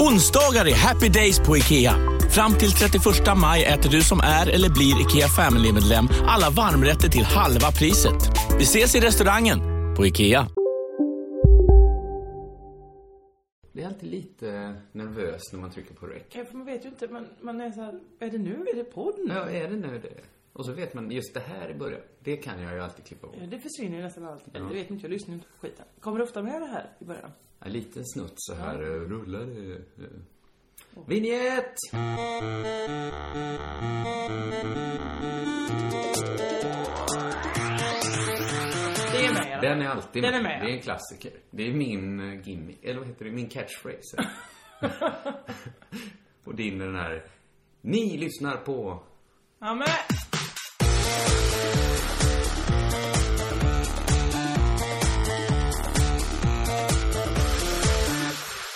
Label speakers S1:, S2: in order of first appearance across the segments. S1: Onsdagar är happy days på IKEA. Fram till 31 maj äter du som är eller blir IKEA Family-medlem alla varmrätter till halva priset. Vi ses i restaurangen på IKEA.
S2: Blir alltid lite nervös när man trycker på rec.
S3: Ja, för man vet ju inte, man, man är så här, är det nu? Är det podd nu?
S2: Ja, är det nu det? Och så vet man, just det här i början, det kan jag ju alltid klippa bort.
S3: Ja, Det försvinner ju nästan alltid. Eller det vet inte, jag lyssnar ju inte på skiten. Kommer det ofta med det här i början?
S2: Ja, lite snutt så här, eh, rullar det. eh. Vignett!
S3: Det är med eller?
S2: Den är alltid
S3: Den är med.
S2: Det är en klassiker. Det är min eh, gimmick, eller vad heter det, min catchphrase. Och din är den här, ni lyssnar på...
S3: Ja, men...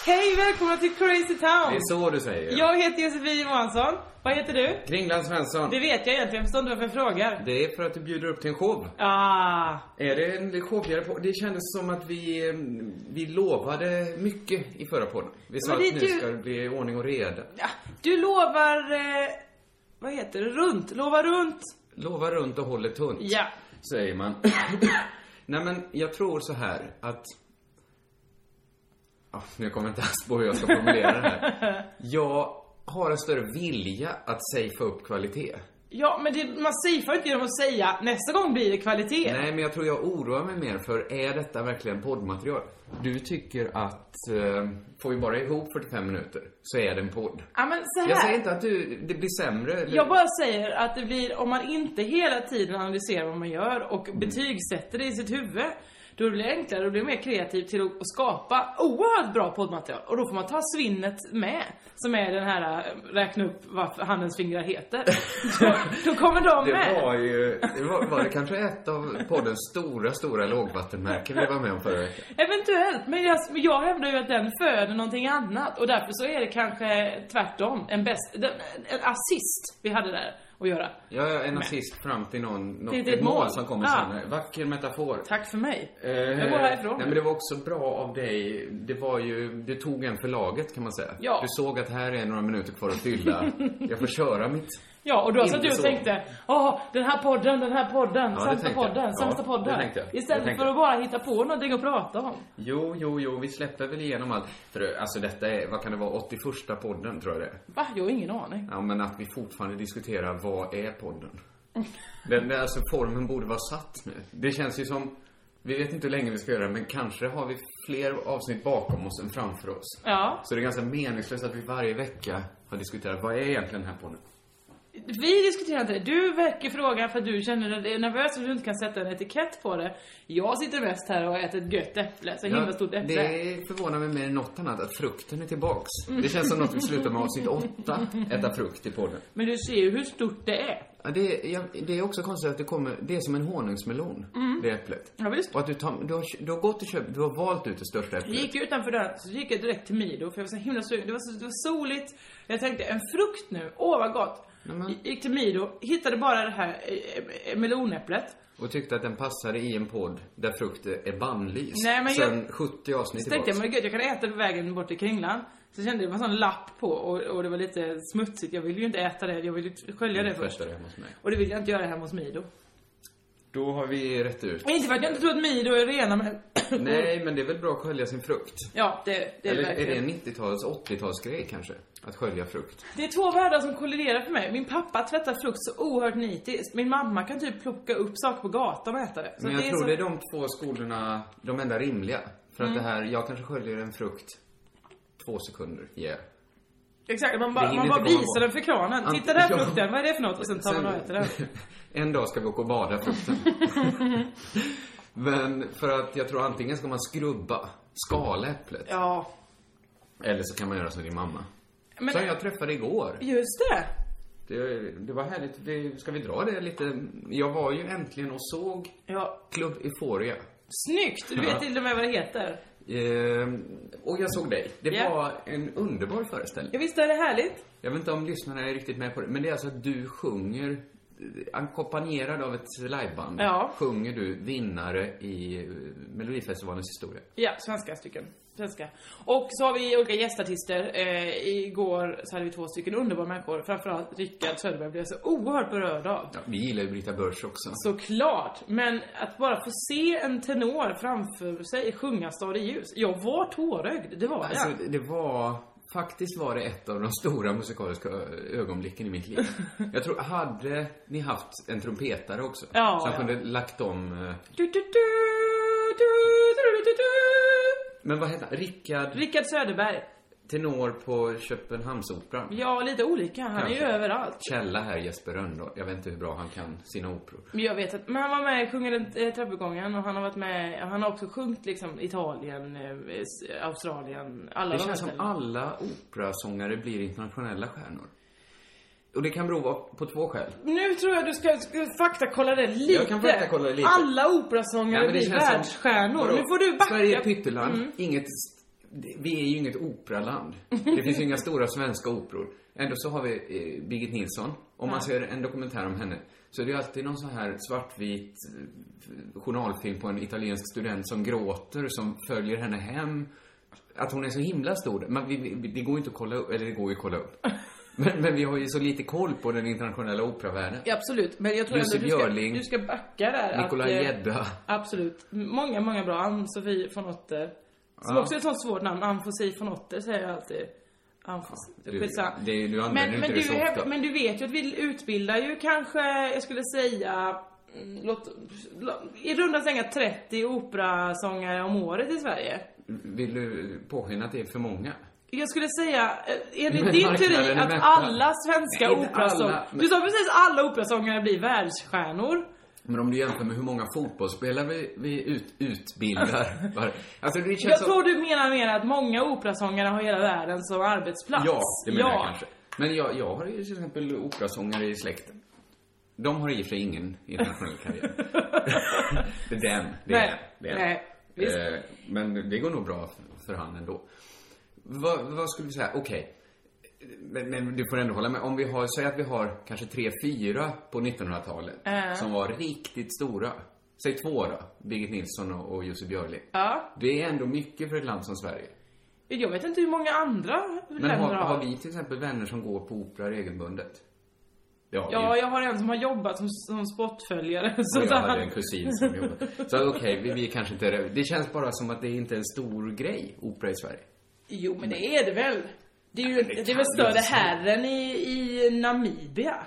S3: Hej, välkomna till Crazy
S2: Det
S3: Town!
S2: är så du säger.
S3: Jag heter Josefin Johansson. Vad heter du?
S2: Kringland Svensson.
S3: Det vet jag egentligen, förstår inte varför jag frågar.
S2: Det är för att du bjuder upp till en show.
S3: Ah,
S2: Är det en showigare på? Det kändes som att vi, eh, vi lovade mycket i förra podden. Vi sa
S3: Men
S2: att
S3: det
S2: nu
S3: är ju-
S2: ska det bli ordning och reda.
S3: ja, du lovar... Eh, vad heter det? Runt? Lovar runt?
S2: Lova runt och håller tunt.
S3: Ja.
S2: Säger man. Nej men jag tror så här att... Ah, nu kommer jag inte alls på hur jag ska formulera det här. Jag har en större vilja att safea upp kvalitet.
S3: Ja, men det, man safear inte genom att säga nästa gång blir det kvalitet.
S2: Nej, men jag tror jag oroar mig mer för är detta verkligen poddmaterial? Du tycker att eh, får vi bara ihop 45 minuter så är det en podd.
S3: Ja, men så här.
S2: Jag säger inte att du, det blir sämre. Eller,
S3: Jag bara säger att det blir, om man inte hela tiden analyserar vad man gör och
S2: Mm.
S3: betygsätter det i sitt huvud, då blir det enklare och blir det mer kreativ till att att skapa oerhört bra poddmaterial. Och då får man ta svinnet med, som är den här eh, räkna upp vad handens fingrar heter. då, då kommer de
S2: det
S3: med.
S2: var ju, det var, var det kanske ett av poddens stora, stora lågvattenmärken vi var med om förra veckan.
S3: Eventuellt, men jag, men jag hävdar ju att den föder någonting annat och därför så är det kanske tvärtom. En, bäst, den, en assist vi hade där att göra.
S2: Jag är en nazist fram till någon, något,
S3: Till
S2: ett,
S3: ditt
S2: mål,
S3: mål.
S2: som kommer
S3: Ja.
S2: senare. Vacker metafor.
S3: Tack för mig.
S2: Eh,
S3: Jag går härifrån.
S2: Nej men det var också bra av dig. Det var ju, du tog en för laget kan man säga.
S3: Ja.
S2: Du såg att här är några minuter kvar att fylla. Jag får köra mitt.
S3: Ja, och då
S2: Inte
S3: satt du och
S2: så.
S3: tänkte Åh, den här podden, den här podden,
S2: det
S3: sämsta
S2: tänkte jag.
S3: podden,
S2: Ja,
S3: sämsta
S2: det
S3: podden.
S2: tänkte jag.
S3: Istället
S2: Det tänkte
S3: för
S2: jag.
S3: att bara hitta på någonting att prata om.
S2: Jo, jo, jo, vi släpper väl igenom allt. För eh, alltså detta är, vad kan det vara, 81 podden tror jag det är.
S3: Va? Jag har ingen aning.
S2: Ja men att vi fortfarande diskuterar, vad är podden? Den, den, alltså formen borde vara satt nu. Det känns ju som, vi vet inte hur länge vi ska göra det, men kanske har vi fler avsnitt bakom oss än framför oss.
S3: Ja.
S2: Så det är ganska meningslöst att vi varje vecka har diskuterat, vad är egentligen den här podden?
S3: Vi diskuterar inte det. Du väcker frågan för att du känner dig nervös och du inte kan sätta en etikett på det. Jag sitter mest här och äter ett gött äpple, så himla stort äpple.
S2: det förvånar mig mer än något annat att frukten är tillbaks. Det känns som något vi slutar med avsnitt åtta, äta frukt i podden.
S3: Men du ser ju hur stort det är.
S2: Ja, det, är- ja, det är också konstigt att det kommer, det är som en honungsmelon, det äpplet.
S3: Ja, visst.
S2: Och att du, tar, du, har, kö- du har gått och köpt, du har valt ut det största äpplet.
S3: Jag gick ju utanför dörren, så gick jag direkt till Mido för jag var så himla sugen. Det var, så, det var soligt. Jag tänkte, en frukt nu, åh vad gott.
S2: Nämen.
S3: Gick till Mido, hittade bara det här eh, eh, melonäpplet.
S2: Och tyckte att den passade i en podd där frukt är bannlyst.
S3: Nej, men jag-
S2: Sen 70 avsnitt
S3: Så tänkte jag,
S2: tillbaks.
S3: men gud jag kan äta på vägen bort till Kringlan. Så kände jag, det var en sån lapp på och, och det var lite smutsigt. Jag ville ju inte äta det, jag ville ju skölja det
S2: Mm,
S3: först.
S2: första det hemma hos mig.
S3: Och det vill jag inte göra hemma hos Mido.
S2: Då har vi rätt ut.
S3: Inte för att jag inte tror att Mido är rena, men
S2: Nej, men det är väl bra att skölja sin frukt.
S3: Ja, det, Mm. det är
S2: Eller är det
S3: verkligen.
S2: en 90-tals, 80-talsgrej kanske? Att skölja frukt.
S3: Det är två världar som kolliderar för mig. Min pappa tvättar frukt så oerhört nitiskt. Min mamma kan typ plocka upp saker på gatan och äta det. Så
S2: Men jag
S3: det är
S2: tror
S3: så... Mm.
S2: det är de två skolorna, de enda rimliga. För att det här, jag kanske sköljer en frukt två sekunder. Yeah.
S3: Exakt, man
S2: Det
S3: bara,
S2: hinner
S3: man
S2: inte
S3: bara
S2: komma
S3: visar
S2: bort.
S3: den för kranen.
S2: Ant-
S3: Titta där
S2: Ja.
S3: frukten, vad är det för något? Och sen tar man och äter den.
S2: en dag ska vi åka och bada frukten. Men för att jag tror antingen ska man skrubba, skala äpplet.
S3: Ja,
S2: Eller så kan man göra som din mamma.
S3: Men-
S2: Som jag träffade igår.
S3: just det.
S2: Det, det var härligt. Vi, ska vi dra det lite? Jag var ju äntligen och såg
S3: Ja,
S2: Club Euphoria.
S3: snyggt! Du vet till och med vad det heter.
S2: Ehm, och jag såg dig. Det
S3: Ja.
S2: var en underbar
S3: Ja,
S2: föreställning.
S3: visst är det härligt?
S2: Jag vet inte om lyssnarna är riktigt med på det, men det är alltså att du sjunger eh, ackompanjerad av ett liveband.
S3: Ja.
S2: Sjunger du vinnare i eh, Melodifestivalens historia.
S3: Ja, svenska stycken. Svenska. Och så har vi olika gästartister. Eh, igår så hade vi två stycken underbara människor. Framförallt Rickard Söderberg blev jag så oerhört berörd av.
S2: Ja, vi gillar ju Brita Börs också.
S3: Såklart, men att bara få se en tenor framför sig sjunga Stad i ljus. Jag var tårögd, det var jag.
S2: Alltså, det var... Faktiskt var det ett av de stora musikaliska ö- ögonblicken i mitt liv. Jag tror, hade ni haft en trumpetare också?
S3: Ja,
S2: som
S3: ja.
S2: kunde lagt om... eh,
S3: Du, du, du, du, du, du, du, du.
S2: Men vad hette han? Rickard,
S3: Rickard Söderberg.
S2: tenor på Köpenhamnsoperan.
S3: Ja, lite olika. Han är ju
S2: Kanske.
S3: överallt.
S2: Källa här, Jesper Rönndahl. Jag vet inte hur bra han kan sina operor.
S3: Men jag vet att, men han var med i Sjunga den eh, trappuppgången och han har varit med, han har också sjungit liksom Italien, eh, s- Australien, alla
S2: Det
S3: de här
S2: känns som
S3: ställena.
S2: alla operasångare blir internationella stjärnor. Och det kan bero på två skäl.
S3: Nu tror jag du ska, ska faktakolla det lite.
S2: Jag kan faktakolla det lite.
S3: Alla operasångare blir
S2: som-
S3: världsstjärnor.
S2: Vadå?
S3: Nu får du backa. Mm.
S2: Sverige är ett pytteland. Inget, vi är ju inget operaland. Det finns ju inga stora svenska operor. Ändå så har vi eh, Birgit Nilsson. Om man ser en dokumentär om henne så är det ju alltid någon sån här svartvit eh, journalfilm på en italiensk student som gråter, som följer henne hem. Att hon är så himla stor, men vi, vi, det går ju inte att kolla upp, eller det går ju att kolla upp. Men, men vi har ju så lite koll på den internationella operavärlden.
S3: Ja, absolut, men jag tror
S2: Jussi
S3: ändå du ska,
S2: Björling.
S3: du ska backa där.
S2: Nikolaj
S3: att, eh,
S2: Gedda.
S3: Absolut. Många, många bra. Ann-Sofie von Otter. Som
S2: Ja.
S3: också är ett sånt svårt namn. Ann-Sofie von Otter säger jag alltid. Ann-Fos-
S2: du-
S3: Skitsamma.
S2: det är- du använder
S3: men,
S2: inte
S3: men
S2: det
S3: du,
S2: så
S3: är-
S2: ofta.
S3: Men du vet ju att vi utbildar ju kanske, jag skulle säga, mm, låt, låt, i runda slängar 30 operasångare om året i Sverige.
S2: Vill du påskina att det är för många?
S3: Jag skulle säga, eh, enligt
S2: Men
S3: din
S2: marknaden
S3: teori
S2: är
S3: att
S2: mättad.
S3: alla svenska
S2: Nej, inte alla,
S3: operasångare...
S2: men-
S3: Du sa precis alla operasångare blir världsstjärnor.
S2: Men om du jämför med hur många fotbollsspelare vi, vi ut, utbildar. var- alltså det känns
S3: Jag
S2: som...
S3: tror du menar mer att många operasångare har hela världen som arbetsplats.
S2: Ja, det menar
S3: Ja.
S2: jag kanske. Men jag, jag har ju till exempel operasångare i släkten. De har i och för sig ingen internationell karriär. det är den. Det är,
S3: Nej,
S2: det är.
S3: nej, visst.
S2: Eh, men det går nog bra för, för han ändå. Vad, vad skulle vi säga? Okej. Men, men du får ändå hålla med. Om vi har, säg att vi har kanske tre, fyra på 1900-talet
S3: Ja.
S2: som var riktigt stora. Säg två då. Birgit Nilsson och, och Jussi Björling.
S3: Ja.
S2: Det är ändå mycket för ett land som Sverige.
S3: Jag vet inte hur många andra
S2: Men
S3: länder
S2: har,
S3: har.
S2: har vi till exempel vänner som går på opera regelbundet? Ja,
S3: Ja, jag har en som har jobbat som, som spottföljare. Så
S2: jag, jag
S3: där-
S2: hade en kusin som jobbade. Så okej, vi, vi kanske inte... är- Det känns bara som att det inte är en stor grej, opera i Sverige.
S3: Jo, men det är det väl. Det är ju
S2: det
S3: det är
S2: kan
S3: väl
S2: du
S3: större
S2: inte säga.
S3: här än i, i Namibia.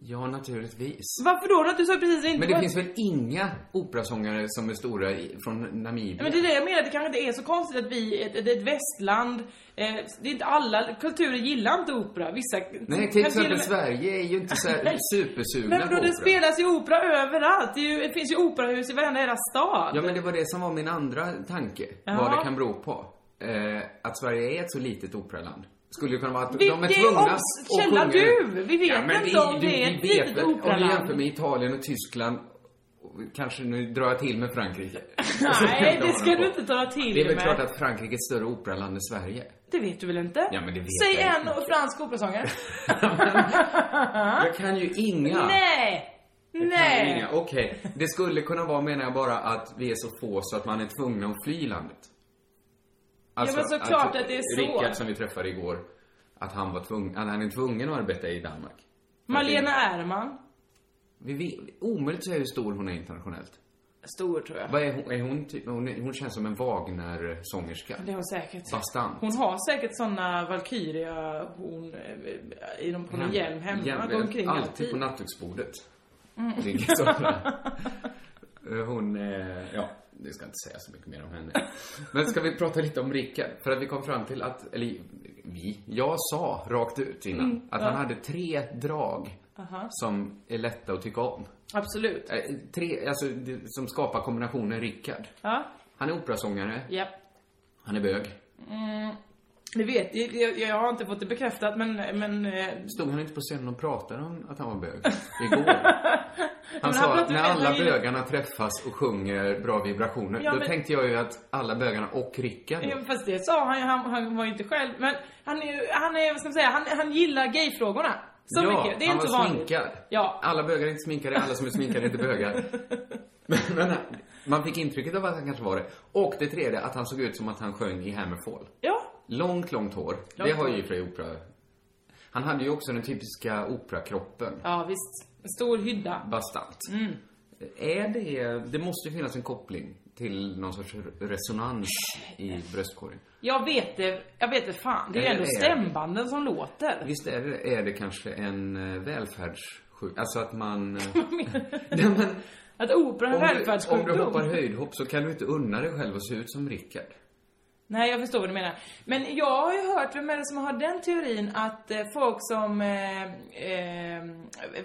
S2: Ja, naturligtvis.
S3: Varför då? Du sa precis inte
S2: Men det
S3: var-
S2: finns väl inga operasångare som är stora i, från Namibia?
S3: Men det är det jag menar, det kanske inte är så konstigt att vi, ett- det är ett västland, eh, det är inte alla kulturer gillar inte opera. Vissa...
S2: Nej, till
S3: kanske
S2: exempel
S3: till och med-
S2: Sverige är ju inte så här supersugna
S3: Men då
S2: på
S3: det
S2: opera.
S3: spelas ju opera överallt. Det, är ju, det finns ju operahus i varenda era stad.
S2: Ja, men det var det som var min andra tanke.
S3: Ja.
S2: Vad det kan bero på. Eh, att Sverige är ett så litet operaland. Skulle ju kunna vara att
S3: Vi-
S2: de är
S3: det är
S2: tvungna
S3: oss- källa
S2: sjunga-
S3: du! Vi vet
S2: men
S3: inte om
S2: du-
S3: det är
S2: vi
S3: ett
S2: vet
S3: litet
S2: väl. Om
S3: operaland.
S2: du jämför med Italien och Tyskland. och Kanske nu drar jag till med Frankrike.
S3: Nej, det ska
S2: Jag
S3: du
S2: håller
S3: inte
S2: på.
S3: dra till
S2: Det är väl
S3: med.
S2: klart att Frankrike är ett större operaland än Sverige.
S3: Det vet du väl inte?
S2: Ja, men det vet
S3: Säg
S2: jag
S3: en
S2: inte.
S3: och fransk operasångare.
S2: Jag kan ju inga.
S3: Nej!
S2: Nej.
S3: Nej!
S2: Ringa. Okej, det skulle kunna vara menar jag bara att vi är så få så att man är tvungen att fly landet. Alltså,
S3: men såklart att det är så.
S2: Rickard som vi träffade igår, att han var tvungen, att han är tvungen att arbeta i Danmark. För att
S3: Malena Ärman.
S2: det- Vi, vi, omöjligt att säga hur stor hon är internationellt.
S3: stor tror jag.
S2: Vad är hon? Är hon, typ, hon, är- hon känns som en Wagner-sångerska.
S3: Det har hon säkert.
S2: Bastant.
S3: Hon har säkert såna Valkyria hon eh, i de på någon hjälm hemma. går
S2: alltid.
S3: omkring alltid. Mm.
S2: på nattduksbordet. Ligger sådär. Eh, Hon, eh, ja, det ska jag inte säga så mycket mer om henne. Men ska vi prata lite om Rickard? För att vi kom fram till att, eller vi, jag sa rakt ut innan
S3: Mm,
S2: att han hade tre drag som är lätta att tycka om.
S3: Absolut.
S2: Eh, Tre, alltså det- som skapar kombinationen Rickard.
S3: Ja.
S2: Han är operasångare,
S3: Ja.
S2: han är bög.
S3: Det vet jag, jag, jag har inte fått det bekräftat men, men eh,
S2: Stod han inte på scenen och pratade om att han var bög? Igår. Han sa
S3: pratade
S2: att när
S3: väl
S2: alla
S3: om-
S2: bögarna träffas och sjunger bra vibrationer,
S3: Ja,
S2: då
S3: men-
S2: tänkte jag ju att alla bögarna och Rickard.
S3: Ja, fast det sa han ju, han, han var ju inte själv. Men han är ju, han är, vad ska man säga, han, han gillar gayfrågorna. Så
S2: ja,
S3: mycket, det är
S2: han
S3: inte
S2: var
S3: vanligt.
S2: sminkad.
S3: Ja.
S2: Alla bögar är inte sminkade, alla som är sminkade är inte bögar. Men, men man fick intrycket av att han kanske var det. Och det tredje, att han såg ut som att han sjöng i Hammerfall.
S3: Ja,
S2: Långt, långt hår. det har ju i och för sig opera... Han hade ju också den typiska operakroppen.
S3: ja visst. En stor hydda.
S2: bastant.
S3: Mm.
S2: Är det, det måste ju finnas en koppling till någon sorts resonans i bröstkorgen.
S3: Jag vet det, jag vet det fan. Det är ju
S2: Eller
S3: ändå
S2: är det?
S3: stämbanden som låter.
S2: Visst är det, är det kanske en eh, välfärdssjuk... Alltså att man... eh, Nej, men,
S3: Att opera är
S2: om, du,
S3: en
S2: om
S3: välfärdssjukdom.
S2: du hoppar höjdhopp så kan du inte unna dig själv att se ut som Rickard.
S3: Nej, jag förstår vad du menar. Men jag har ju hört, vem är det som har den teorin att eh, folk som eh, eh,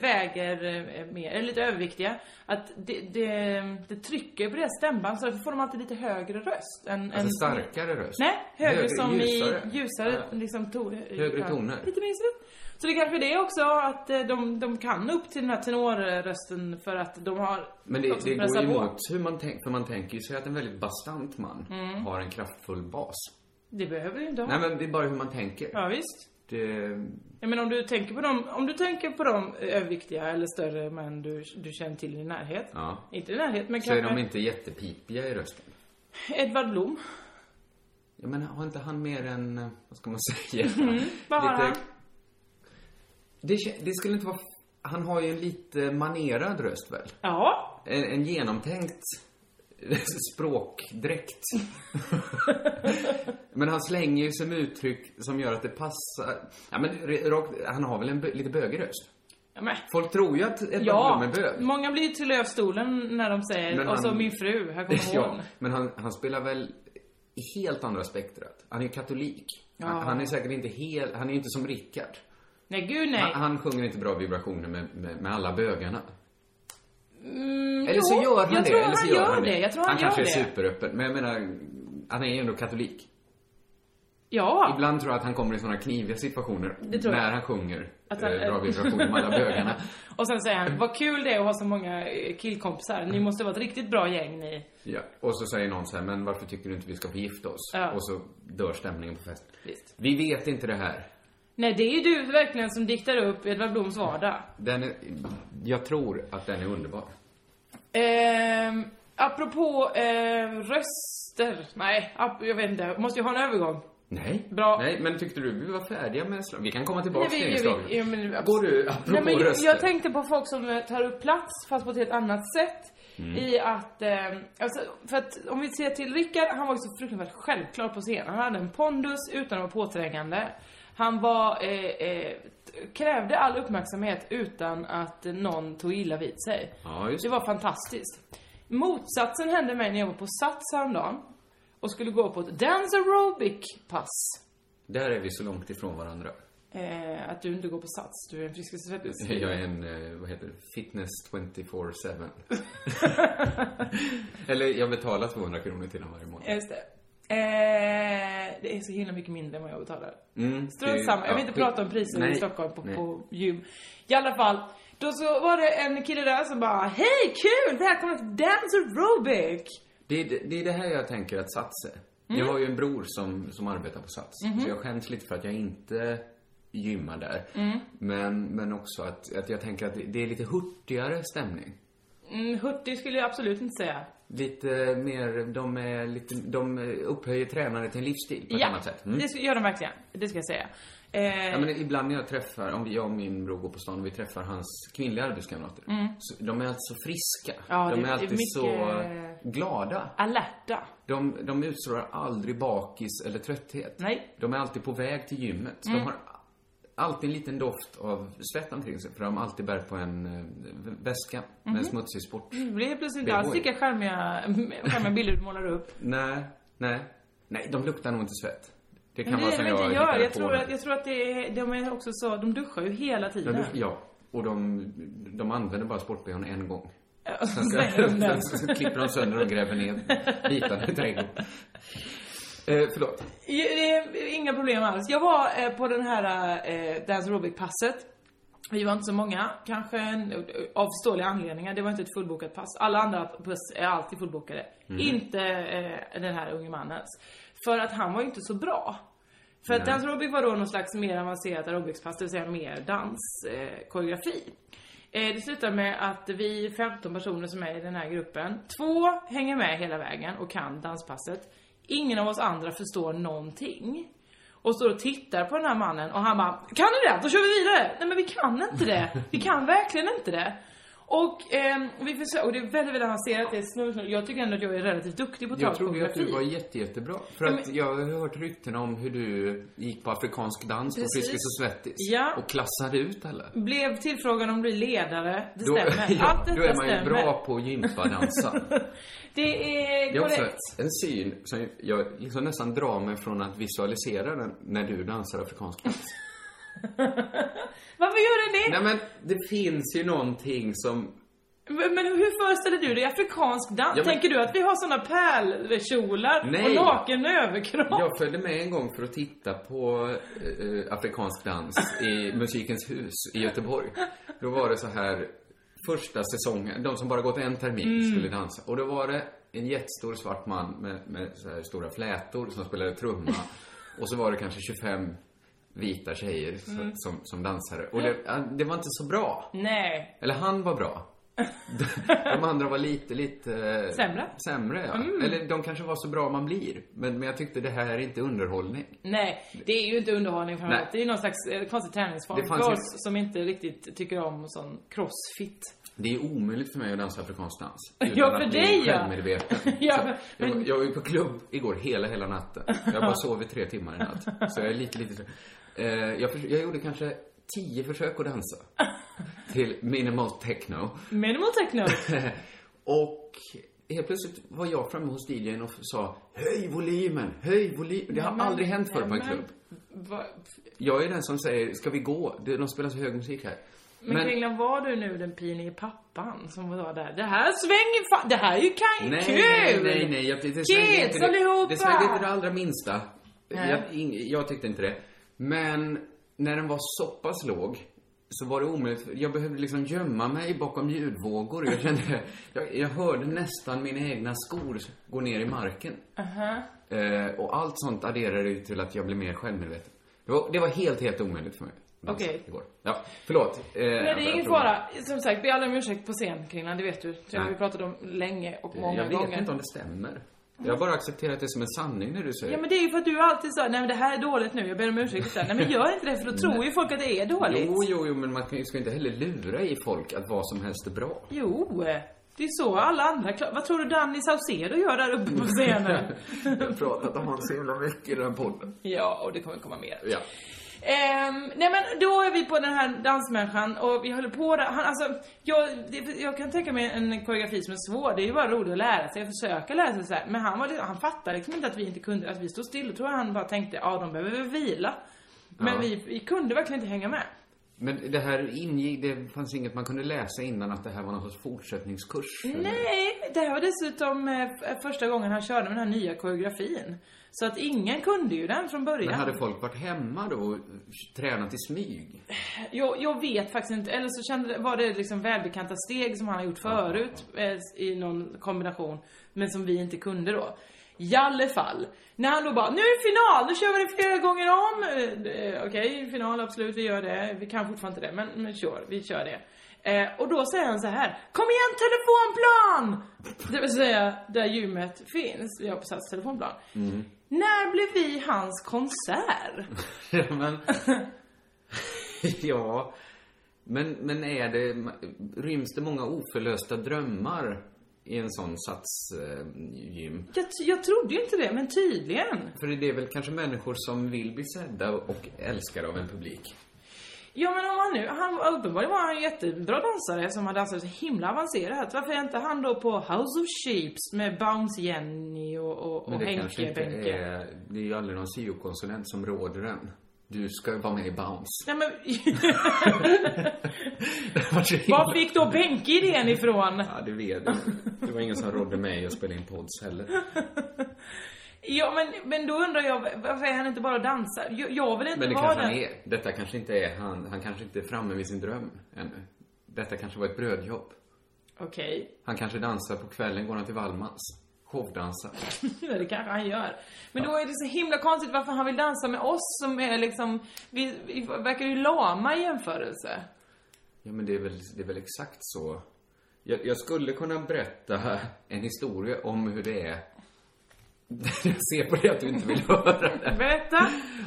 S3: väger eh, mer, eller lite överviktiga, att det, det, det trycker på deras stämband så därför får de alltid lite högre röst. Än,
S2: Alltså
S3: än,
S2: starkare röst.
S3: Nej, högre, som
S2: ljusare.
S3: i ljusare
S2: Ja.
S3: liksom ton,
S2: Högre toner.
S3: Lite mer så. Så det kanske är det också att eh, de, de kan upp till den här tenorrösten för att de har
S2: Men det,
S3: de som
S2: det går
S3: pressar
S2: ju
S3: på.
S2: emot hur man tänker, för man tänker ju sig att en väldigt bastant man
S3: Mm.
S2: har en kraftfull bas.
S3: Det behöver ju inte ha.
S2: Nej men det är bara hur man tänker.
S3: Ja, visst.
S2: Det,
S3: Ja, men om du tänker på dem, om du tänker på de överviktiga eller större män du, du känner till i din närhet.
S2: Ja.
S3: Inte i närhet, men
S2: så är
S3: kanske
S2: de inte jättepipiga i rösten.
S3: Edvard Blom.
S2: Ja, men har inte han mer än, eh, vad ska man säga?
S3: vad har Mm, han?
S2: Det, kä- det skulle inte vara... Han har ju en lite manerad röst väl?
S3: Ja.
S2: En, en genomtänkt språkdräkt. men han slänger ju sig med uttryck som gör att det passar. Ja, men re- rakt, han har väl en bö, lite bögig röst?
S3: ja men.
S2: Folk tror ju att ett
S3: Ja,
S2: är bög.
S3: många blir till lövstolen när de säger
S2: Men
S3: och så
S2: han-
S3: min fru, här kommer hon.
S2: Ja, men han, han spelar väl i helt andra spektrat. Han är ju katolik.
S3: Ja.
S2: Han, han är säkert inte helt, han är ju inte som Rickard.
S3: Nej gud nej.
S2: Han, han sjunger inte bra vibrationer med, med, med alla bögarna.
S3: Mm,
S2: Eller så
S3: jo,
S2: gör han
S3: jag
S2: det.
S3: Tror
S2: eller så
S3: han gör det. Jag tror han,
S2: han
S3: gör
S2: kanske
S3: det.
S2: är superöppen. Men jag menar, han är ju ändå katolik.
S3: Ja.
S2: Ibland tror jag att han kommer i sådana kniviga situationer.
S3: tror jag.
S2: När han sjunger
S3: Att han-
S2: eh, bra vibrationer med alla bögarna.
S3: Och sen säger han, vad kul det är att ha så många eh, killkompisar.
S2: Mm.
S3: Ni måste vara ett riktigt bra gäng ni.
S2: Ja. Och så säger någon så här, men varför tycker du inte vi ska förgifta oss?
S3: Ja.
S2: Och så dör stämningen på festen.
S3: Visst.
S2: Vi vet inte det här.
S3: Nej, det är ju du verkligen som diktar upp Edvard Bloms vardag.
S2: Den är, jag tror att den är underbar.
S3: Ehm, apropå eh, röster. Nej, ap- jag vet inte. Måste jag ha en övergång?
S2: Nej.
S3: Bra.
S2: Nej, men tyckte du vi var färdiga med slag? Vi kan komma tillbaka
S3: Nej,
S2: till
S3: vi-
S2: inslaget.
S3: vi- ja, men-
S2: Går du,
S3: Nej,
S2: apropå
S3: men jag,
S2: röster.
S3: jag tänkte på folk som eh, tar upp plats fast på ett helt annat sätt.
S2: Mm.
S3: I att, eh, alltså, för att om vi ser till Rickard, han var ju så fruktansvärt självklar på scenen. Han hade en pondus utan att vara påträngande. Han var, eh, eh, t- krävde all uppmärksamhet utan att någon tog illa vid sig.
S2: Ja, just
S3: det var fantastiskt. Motsatsen hände mig när jag var på Sats häromdagen och skulle gå på ett dance aerobic pass.
S2: Där är vi så långt ifrån varandra.
S3: Eh, att du inte går på Sats, du är en Friskis & Svettis.
S2: Jag är en, eh, vad heter det, fitness 24-7. Eller jag betalar 200 kronor till honom varje månad.
S3: Ja, Just det. Eh, det är så himla mycket mindre än vad jag betalar.
S2: Mm, det-
S3: Strunt samma. Jag vill
S2: ja,
S3: inte
S2: det-
S3: prata om priser i
S2: nej,
S3: Stockholm på,
S2: nej.
S3: på gym. I alla fall. Då så var det en kille där som bara Hej kul! Välkomna till Dance Aerobic!
S2: Det, är- det är det här jag tänker att Sats är.
S3: Mm.
S2: Jag har ju en bror som, som arbetar på Sats.
S3: Mm-hmm.
S2: Så jag skäms lite för att jag inte gymmar där.
S3: Mm.
S2: Men, men också att, att jag tänker att det, det är lite hurtigare stämning.
S3: Mm, hurtig skulle jag absolut inte säga.
S2: lite eh, mer, de är lite, de eh, upphöjer tränare till en livsstil på ett
S3: Ja,
S2: annat sätt. Mm.
S3: det ska- gör de verkligen. Det ska jag säga. Eh,
S2: Ja, men ibland när jag träffar, om jag och min bror går på stan och vi träffar hans kvinnliga arbetskamrater. Så, de är alltid så friska.
S3: Mm. Ja,
S2: de
S3: det
S2: är
S3: är
S2: alltid
S3: mycket-
S2: så glada.
S3: Alerta.
S2: De, de utstrålar aldrig bakis eller trötthet.
S3: Nej. Mm.
S2: De är alltid på väg till gymmet. De har alltid en liten doft av svett omkring sig för de har alltid bär på en eh, väska med
S3: Mhm.
S2: en smutsig sport.
S3: Det blir plötsligt
S2: Det
S3: inte
S2: är
S3: alls
S2: oj.
S3: lika charmiga, charmiga bilder du målar upp.
S2: Nej, nej. Nej, de luktar nog inte svett. Det kan
S3: Men
S2: vara
S3: det är
S2: som
S3: det
S2: jag
S3: jag
S2: hittade
S3: inte gör. Jag
S2: på
S3: tror
S2: det.
S3: att, jag tror att det är, de är också så, de duschar ju hela
S2: De
S3: tiden.
S2: luk- ja, och de, de använder bara sportbehån en gång.
S3: Ja,
S2: Sen, ska,
S3: slänger de den.
S2: sen så klipper de sönder och gräver ner bitarna i trädgården. Eh, förlåt.
S3: Ja, det är Inga problem alls. Jag var eh, på den här eh, Dance Aerobic-passet. Vi var inte så många, kanske en, av förståeliga anledningar. Det var inte ett fullbokat pass. Alla andra pass är alltid fullbokade. Inte eh, den här unge mannens. För att han var ju inte så bra. För att Dance Aerobic var då någon slags mer avancerat aerobicspass, det vill säga mer danskoreografi. Eh, koreografi. Eh, Det slutar med att vi 15 personer som är i den här gruppen, två hänger med hela vägen och kan danspasset. Ingen av oss andra förstår någonting. Och står och tittar på den här mannen och han bara Kan ni det? Då kör vi vidare! Nej men vi kan inte det! Vi kan verkligen inte det! Och, ehm, vi försöker, och det är väldigt, väldigt avancerat, det är snurr, Jag tycker ändå att jag är relativt duktig på
S2: Jag trodde ju att
S3: talkoreografi.
S2: du var jätte, jättebra. För
S3: Ja,
S2: att jag har hört rykten om hur du gick på afrikansk dans på
S3: Precis.
S2: Friskis och Svettis.
S3: Ja.
S2: Och klassade ut alla.
S3: Blev tillfrågad om att bli ledare, det
S2: Då,
S3: stämmer.
S2: ja,
S3: Allt detta
S2: då är man ju
S3: stämmer.
S2: bra på gympadansa.
S3: Det är
S2: Det är också
S3: korrekt.
S2: en syn som jag liksom nästan drar mig från att visualisera den när du dansar afrikansk dans.
S3: Varför gör den det?
S2: Nej men, det finns ju någonting som
S3: Men men hur föreställer du dig afrikansk dans?
S2: Ja, men-
S3: Tänker du att vi har såna pärlkjolar och
S2: Nej.
S3: naken överkropp?
S2: Jag följde med en gång för att titta på eh, afrikansk dans i Musikens hus i Göteborg. Då var det så här, första säsongen, de som bara gått en termin skulle dansa. Och då var det en jättestor svart man med, med så här stora flätor som spelade trumma. Och så var det kanske 25 vita tjejer så, som, som dansade. Och det, ja, det var inte så bra.
S3: Nej.
S2: Eller han var bra. De andra var lite, lite... eh,
S3: Sämre? Mm.
S2: Sämre, ja. Eller de kanske var så bra man blir. Men, men jag tyckte det här är inte underhållning.
S3: Nej, det är ju inte underhållning framför
S2: Nej.
S3: allt. Det är ju någon slags eh, konstig träningsform
S2: Det fanns
S3: för
S2: ju-
S3: oss som inte riktigt tycker om sån crossfit.
S2: Det är omöjligt för mig att dansa afrikansk dans.
S3: Ja,
S2: utan
S3: för
S2: att bli
S3: dig, ja.
S2: självmedveten.
S3: Ja,
S2: Så
S3: men-
S2: jag, var- jag var ju på klubb igår hela, hela natten. Jag bara sov i tre timmar i natt. Så jag är lite, lite... Eh, jag, förs- jag gjorde kanske tio försök att dansa. Till minimal techno.
S3: Minimal techno.
S2: Och helt plötsligt var jag framme hos DJn och sa Höj volymen, höj volymen. Det har
S3: Men-
S2: aldrig hänt förut på en
S3: men-
S2: klubb.
S3: Va-
S2: Jag är den som säger, ska vi gå? Det- De spelar så hög musik här.
S3: Men, men Kringlan, var du nu den pinige pappan som var där? Det här svänger fan, det här är ju kan...
S2: nej,
S3: kul!
S2: nej, nej, nej. Jag, det, det svängde
S3: Kids
S2: inte det,
S3: allihopa!
S2: det svängde inte det allra minsta.
S3: Nej.
S2: Jag, ing, jag tyckte inte det. Men när den var så pass låg så var det omöjligt. Jag behövde liksom gömma mig bakom ljudvågor. Jag kände, jag, jag hörde nästan mina egna skor gå ner i marken. Eh, och allt sånt adderade ju till att jag blev mer självmedveten. Det var, det var helt, helt omöjligt för mig. Dansa
S3: Okej.
S2: igår. Ja, förlåt. Eh,
S3: Nej, det är ingen
S2: jag tror-
S3: fara. Som sagt, be alla om ursäkt på scen, Kringlan, det vet du. Det har vi
S2: Nej.
S3: pratat om länge och många
S2: Jag vet
S3: gånger.
S2: inte om det stämmer. Jag har bara accepterat det som en sanning när du säger
S3: Ja men det är ju för att du alltid sa, nej men det här är dåligt nu, jag ber om ursäkt sen. Nej men gör inte det för då tror ju folk att det är dåligt.
S2: Jo, jo, jo, men man kan ju- ska inte heller lura i folk att vad som helst är bra.
S3: Jo, Det är så alla andra klar- Vad tror du Danny Saucedo gör där uppe på scenen?
S2: Jag har pratat om honom så jävla mycket i den här podden.
S3: ja, och det kommer komma mer.
S2: Ja.
S3: Ehm, nej men då är vi på den här dansmänniskan och vi håller på där. Han, alltså, jag, det, jag kan tänka mig en koreografi som är svår. Det är ju bara roligt att lära sig och försöka lära sig så här. Men han, var, liksom- han fattade liksom inte att vi inte kunde, att vi stod still. Då tror jag han bara tänkte, ja de behöver väl vila. Men
S2: Ja.
S3: vi, vi kunde verkligen inte hänga med.
S2: Men det här ingick, det fanns inget man kunde läsa innan att det här var någon sorts fortsättningskurs? eller?
S3: Nej, det här var dessutom eh, f- första gången han körde med den här nya koreografin. Så att ingen kunde ju den från början.
S2: Men hade folk varit hemma då och tränat i smyg?
S3: jag, jag vet faktiskt inte, eller så kände, var det liksom välbekanta steg som han har gjort förut eh, i någon kombination, men som vi inte kunde då. I alla fall, när han då bara, nu är det final, nu kör vi det flera gånger om. Eh, eh, Okej, final absolut, vi gör det. Vi kan fortfarande inte det, men, men kör, vi kör det. Eh, och då säger han så här. Kom igen telefonplan! Det vill säga där gymmet finns, vi har på Sats telefonplan. När blev vi hans konsert?
S2: Ja, men... ja. Men, men är det... Ryms det många oförlösta drömmar i en sån eh, satsgym?
S3: Jag, jag trodde ju inte det, men tydligen.
S2: För det är väl kanske människor som vill bli sedda och älskade av en publik.
S3: Ja men om han nu, han, uppenbarligen var han en jättebra dansare som har dansat så himla avancerat. Varför är inte han då på House of Shapes med Bounce Jenny och, och, och
S2: Men det kanske
S3: Henke
S2: inte
S3: Benke?
S2: är... Det är ju aldrig någon syokonsulent som råder en. Du ska vara med i Bounce.
S3: Nej men,
S2: Det var så himla-
S3: var fick då Benke idén ifrån?
S2: Ja, det vet jag. Det var ingen som rådde mig att spela in pods heller.
S3: Ja men, men då undrar jag, varför är han inte bara dansare? Jag, jag vill inte
S2: Men det
S3: vara
S2: kanske han
S3: den.
S2: är. Detta kanske inte är han. Han kanske inte är framme vid sin dröm ännu. Detta kanske var ett brödjobb.
S3: Okej,
S2: Han kanske dansar på kvällen, går han till Wallmans. Showdansar.
S3: Ja, det kanske han gör. Men då är det så himla konstigt varför han vill dansa med oss som är liksom, vi, vi verkar ju lama i jämförelse.
S2: Ja, men det är väl, det är väl exakt så. Jag, jag skulle kunna berätta en historia om hur det är. Jag ser på dig att du inte vill höra det.
S3: Berätta.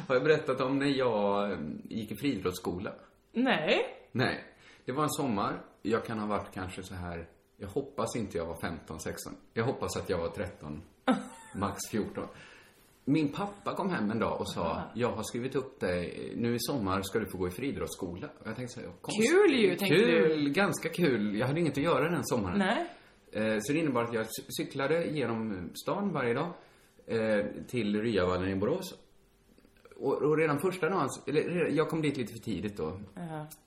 S2: Har jag berättat om när jag eh, gick i friidrottsskola?
S3: Nej.
S2: Nej. Det var en sommar. Jag kan ha varit kanske så här... Jag hoppas inte jag var 15, 16. Jag hoppas att jag var 13, max 14. Min pappa kom hem en dag och sa, jag har skrivit upp dig, nu i sommar ska du få gå i friidrottsskola. Och jag tänkte så här, konstigt.
S3: Kul ju, tänkte
S2: Kul, ganska kul. Jag hade inget att göra den sommaren.
S3: Nej.
S2: Eh, Så det innebar att jag cy- cyklade genom stan varje dag eh, till Ryavallen i Borås. Och, och redan första dagen, eller re- jag kom dit lite för tidigt då.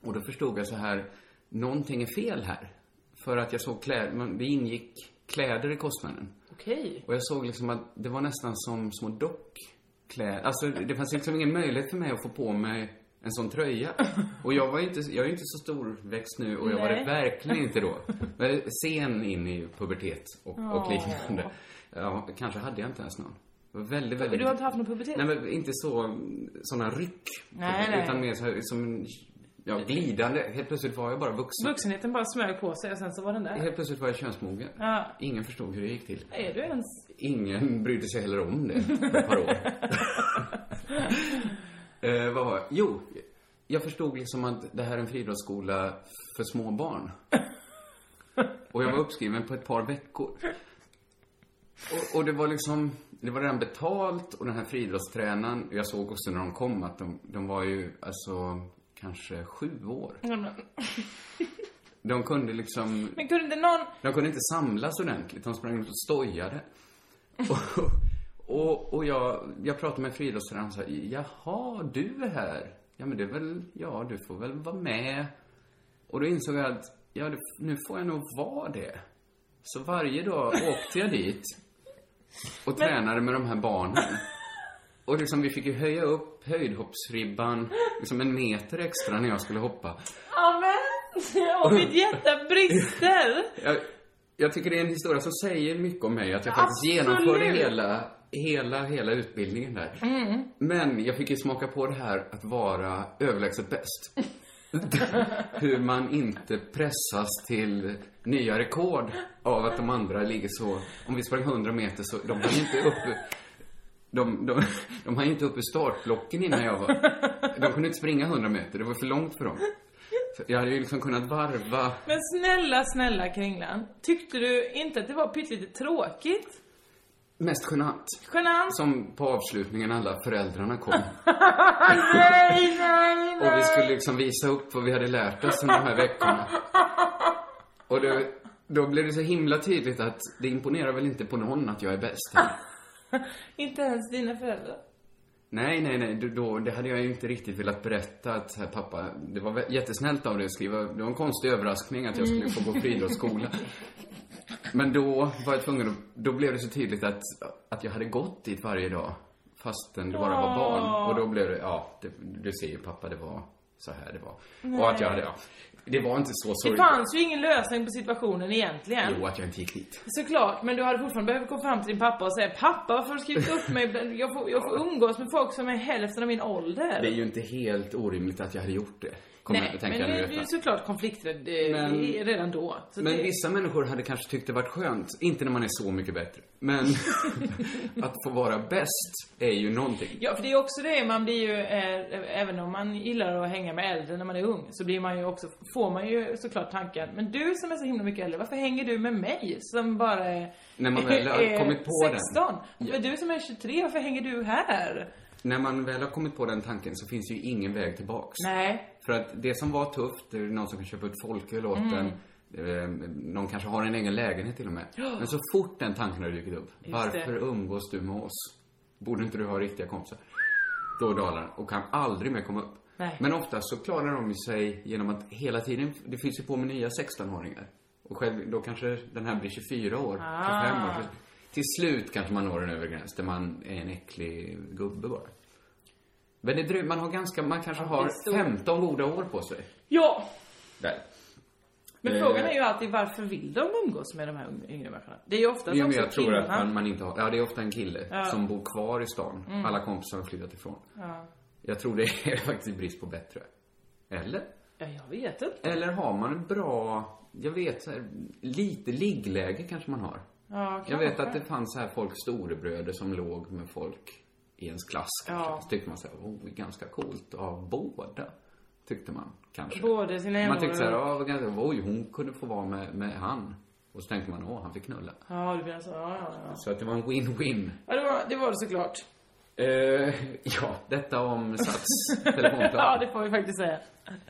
S2: Och då förstod jag så här, någonting är fel här. För att jag såg kläder, men det ingick kläder i kostnaden.
S3: Okej.
S2: Och jag såg liksom att det var nästan som små dockkläder. Alltså det fanns liksom ingen möjlighet för mig att få på mig en sån tröja. Och jag var ju inte, jag är ju inte så storväxt nu och jag var
S3: Nej.
S2: det verkligen inte då. Jag är sen in i pubertet och, och liknande. Ja, kanske hade jag inte ens någon. Det var väldigt, väldigt...
S3: Du har inte haft någon pubertet?
S2: Nej men inte så, sådana ryck.
S3: Nej, nej.
S2: Utan mer så här, som en, ja, glidande. Helt plötsligt var jag bara vuxen.
S3: Vuxenheten bara smög på sig och sen så var den där.
S2: Helt plötsligt var jag könsmogen.
S3: Ja.
S2: Ingen förstod hur det gick till.
S3: Är du ens...
S2: Ingen brydde sig heller om det på ett par år. eh, vad var jag? Jo, jag förstod liksom att det här är en friidrottsskola för små barn. Och jag var uppskriven på ett par veckor. Och, och det var liksom, det var redan betalt och den här friidrottstränaren, jag såg också när de kom att de, de var ju alltså kanske sju år. De kunde liksom
S3: Men kunde inte någon...
S2: de kunde inte samlas ordentligt, de sprang runt och stojade. Och, och, och jag, jag pratade med friidrottstränaren och sa, jaha, du är här. Ja, men det är väl, ja, du får väl vara med. Och då insåg jag att, ja, det, nu får jag nog vara det. Så varje dag åkte jag dit och tränade med de här barnen. Och liksom, vi fick ju höja upp höjdhoppsribban, liksom en meter extra när jag skulle hoppa.
S3: Ja men! Och mitt hjärta brister!
S2: Jag, jag tycker det är en historia som säger mycket om mig. Att jag faktiskt
S3: Absolut.
S2: genomförde hela, hela, hela utbildningen där. Men jag fick ju smaka på det här att vara överlägset bäst. Hur man inte pressas till nya rekord av att de andra ligger så... Om vi sprang 100 meter så... De hann inte upp... De, de, de hann inte upp ur startblocken innan jag var... De kunde inte springa 100 meter. Det var för långt för dem. Så jag hade ju liksom kunnat varva...
S3: Men snälla, snälla Kringlan. Tyckte du inte att det var pyttelite tråkigt?
S2: Mest genant.
S3: Genant?
S2: Som på avslutningen alla föräldrarna kom.
S3: Nej, nej,
S2: Och vi
S3: nej!
S2: skulle liksom visa upp vad vi hade lärt oss under de här veckorna. Och då, då blev det så himla tydligt att det imponerar väl inte på någon att jag är bäst här.
S3: Inte ens dina föräldrar.
S2: Nej, nej, nej, då- då, det hade jag ju inte riktigt velat berätta att här, pappa, det var vä- jättesnällt av dig att skriva, det var en konstig överraskning att jag skulle få gå friidrottsskola. Men då var jag tvungen att, då blev det så tydligt att, att jag hade gått dit varje dag fastän det bara var barn. Och då blev det, ja, det, du ser ju pappa, det var så här det var. Och att jag hade, ja, det var inte så
S3: Det
S2: sorgligt.
S3: fanns ju ingen lösning på situationen egentligen.
S2: Jo, att jag inte gick dit.
S3: Såklart, men du hade fortfarande behövt gå fram till din pappa och säga Pappa, varför har du skrivit upp mig? Jag får, jag får umgås med folk som är hälften av min ålder.
S2: Det är ju inte helt orimligt att jag hade gjort det. Kommer jag
S3: Nej,
S2: att
S3: men
S2: tänka
S3: du
S2: nu i
S3: är du är
S2: efterhand.
S3: såklart konflikträdd eh,
S2: Men-
S3: i- redan då. Så
S2: Men
S3: det,
S2: vissa människor hade kanske tyckt det varit skönt, inte när man är så mycket bättre, men att få vara bäst är ju någonting.
S3: Ja, för det är också det, man blir ju, eh, även om man gillar att hänga med äldre när man är ung, så blir man ju också, får man ju såklart tanken, men du som är så himla mycket äldre, varför hänger du med mig som bara är
S2: När man väl har
S3: är
S2: kommit på den.
S3: 16? Men Du som är 23, varför hänger du här?
S2: När man väl har kommit på den tanken så finns ju ingen väg tillbaks.
S3: Nej.
S2: För att det som var tufft, det är någon som kan köpa ut folköl åt en, eh, någon kanske har en egen lägenhet till och med. Men så fort den tanken har dykt upp, varför umgås du med oss? Borde inte du ha riktiga kompisar? Då dalar den och kan aldrig mer komma upp.
S3: Nej.
S2: Men ofta så klarar de ju sig genom att hela tiden, det finns ju på med nya 16-åringar. Och själv, då kanske den här blir 24 år, 25 år. Till slut kanske man når en övre gräns där man är en äcklig gubbe bara. Men det dröjer, man har ganska, man kanske har 15 goda år på sig.
S3: Ja,
S2: Där.
S3: men
S2: Eh.
S3: frågan är ju alltid varför vill de umgås med de här ung- yngre människorna? Det är ju oftast
S2: Jo, men
S3: också
S2: jag tror att
S3: kvinnan.
S2: man, man inte har, ja det är ofta en kille som bor kvar i stan.
S3: Mm.
S2: Alla kompisar har flyttat ifrån. Jag tror det är faktiskt brist på bättre. Eller?
S3: Ja, jag vet inte.
S2: Eller har man en bra, jag vet så här, lite liggläge kanske man har.
S3: Ja,
S2: Jag vet
S3: kanske.
S2: att det fanns så här folk storebröder som låg med folk i ens klass.
S3: Ja.
S2: Ja. Så tyckte man så här, oh, det är ganska coolt att ha båda. Tyckte man kanske.
S3: Både sina
S2: man
S3: jämnåriga-
S2: tyckte så här, ja, vad ganska, oj, hon kunde få vara med, med han. Och så tänkte man, åh, han fick knulla.
S3: Ja, du menar så. Ja, ja, ja.
S2: Så att det var en win-win.
S3: ja det, var, det var det såklart.
S2: Eh, ja, detta om Sats telefonplan.
S3: ja, det får vi faktiskt säga.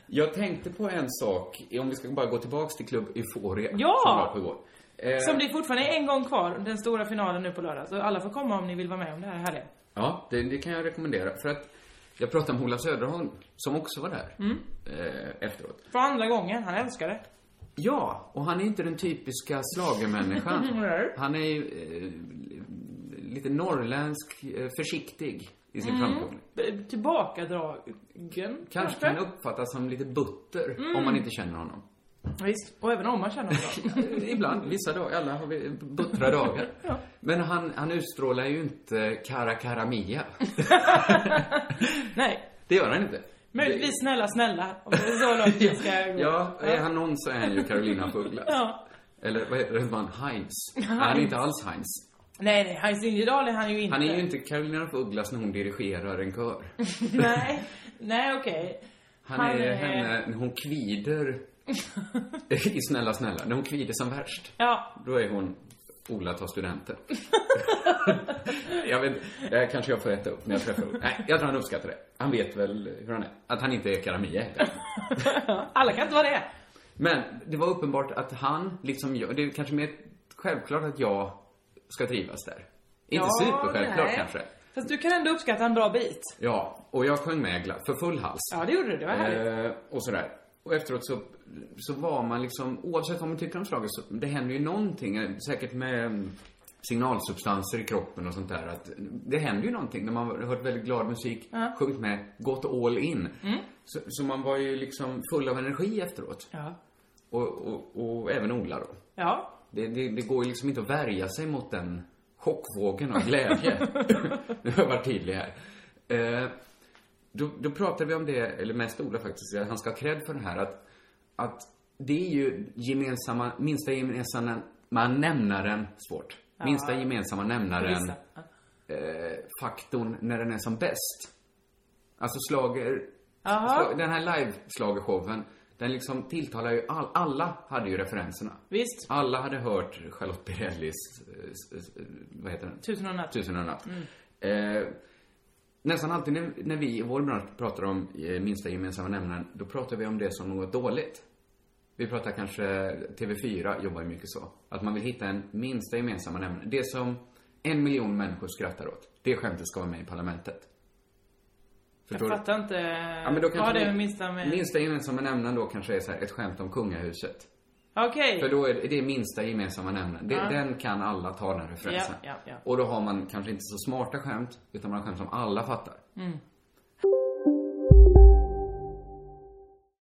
S2: Jag tänkte på en sak, om vi ska bara gå tillbaks till klubb Euphoria.
S3: Ja!
S2: Som var på igår. Eh,
S3: Som det fortfarande är en gång kvar, den stora finalen nu på lördag. Så alla får komma om ni vill vara med om det här härliga.
S2: Ja, det, det kan jag rekommendera. För att jag pratade med Ola Söderholm, som också var där.
S3: Mm.
S2: Eh, efteråt.
S3: För andra gången, han älskar det.
S2: Ja, och han är inte den typiska slagermänniskan.
S3: Nej.
S2: Han är ju eh, lite norrländsk, eh, försiktig i sin
S3: Mm.
S2: framtoning.
S3: B- Tillbakadragen,
S2: Kanske kan uppfattas som lite butter om man inte känner honom.
S3: Visst, och även om man känner honom.
S2: Ibland, vissa dagar, alla har vi buttra dagar. Men han, han utstrålar ju inte Cara Cara Mia.
S3: Nej.
S2: Det gör han inte.
S3: Möjligtvis snälla, snälla. Om det är så långt vi ska gå.
S2: Ja, är han någon så är han ju Carolina af Ugglas.
S3: Ja.
S2: Eller vad heter han? Heinz. Nej, han är inte alls Heinz.
S3: Nej, nej, Heinz Liljedahl är han ju inte.
S2: Han är ju inte Carolina af Ugglas när hon dirigerar en kör.
S3: Nej, nej okej.
S2: Han,
S3: Han
S2: är
S3: är-
S2: henne när hon kvider i Snälla snälla. När hon kvider som värst.
S3: Ja,
S2: Då är hon Ola tar studenten. jag vet det här kanske jag får äta upp när jag träffar Ola. Nej, jag tror han uppskattar det. Han vet väl hur han är. Att han inte är Karamia heller.
S3: alla kan inte vara det.
S2: Men det var uppenbart att han, liksom jag, det är kanske mer självklart att jag ska trivas där. Inte
S3: Ja,
S2: supersjälvklart
S3: nej.
S2: kanske.
S3: Fast du kan ändå uppskatta en bra bit.
S2: Ja, och jag sjöng med gla- för full hals.
S3: Ja, det gjorde du. Det var härligt.
S2: Eh, och sådär. Och efteråt så, så var man liksom, oavsett vad man tycker om slaget, så det händer ju någonting, eh, säkert med mm, signalsubstanser i kroppen och sånt där. Att det händer ju någonting när man har hört väldigt glad musik, sjungit med, gått all in.
S3: Mm.
S2: Så, så man var ju liksom full av energi efteråt.
S3: Ja.
S2: Och, och, och även Ola då.
S3: Ja.
S2: Det, det, det går ju liksom inte att värja sig mot den chockvågen av glädje. nu har jag varit tydlig här. Eh, då, då pratade vi om det, eller mest Ola faktiskt, att han ska ha cred för det här att, att det är ju gemensamma, minsta gemensamma nämnaren, svårt. Minsta gemensamma nämnaren,
S3: Vissa.
S2: eh, faktorn när den är som bäst. Alltså slager,
S3: Jaha.
S2: slag, den här live-schlagershowen, den liksom tilltalar ju all, alla hade ju referenserna.
S3: Visst.
S2: Alla hade hört Charlotte Perrellis, eh, s- s- eh, vad heter den?
S3: Tusen och en natt. Mm.
S2: Tusen och en natt. Eh, nästan alltid när, när vi i vår bransch pratar om eh, minsta gemensamma nämnaren, då pratar vi om det som något dåligt. Vi pratar kanske, TV4 jobbar ju mycket så. Att man vill hitta en minsta gemensamma nämnare. Det som en miljon människor skrattar åt, det skämtet ska vara med i Parlamentet.
S3: Jag
S2: Förstår du?
S3: fattar inte
S2: Ja, men då kanske
S3: vad det är
S2: vi-
S3: minsta med...
S2: minsta gemensamma nämnaren då kanske är så här, ett skämt om kungahuset.
S3: Okej.
S2: För då är det, det är minsta gemensamma nämnaren. Det, Den kan alla ta den referensen.
S3: Ja, ja, ja.
S2: Och då har man kanske inte så smarta skämt, utan man har skämt som alla fattar.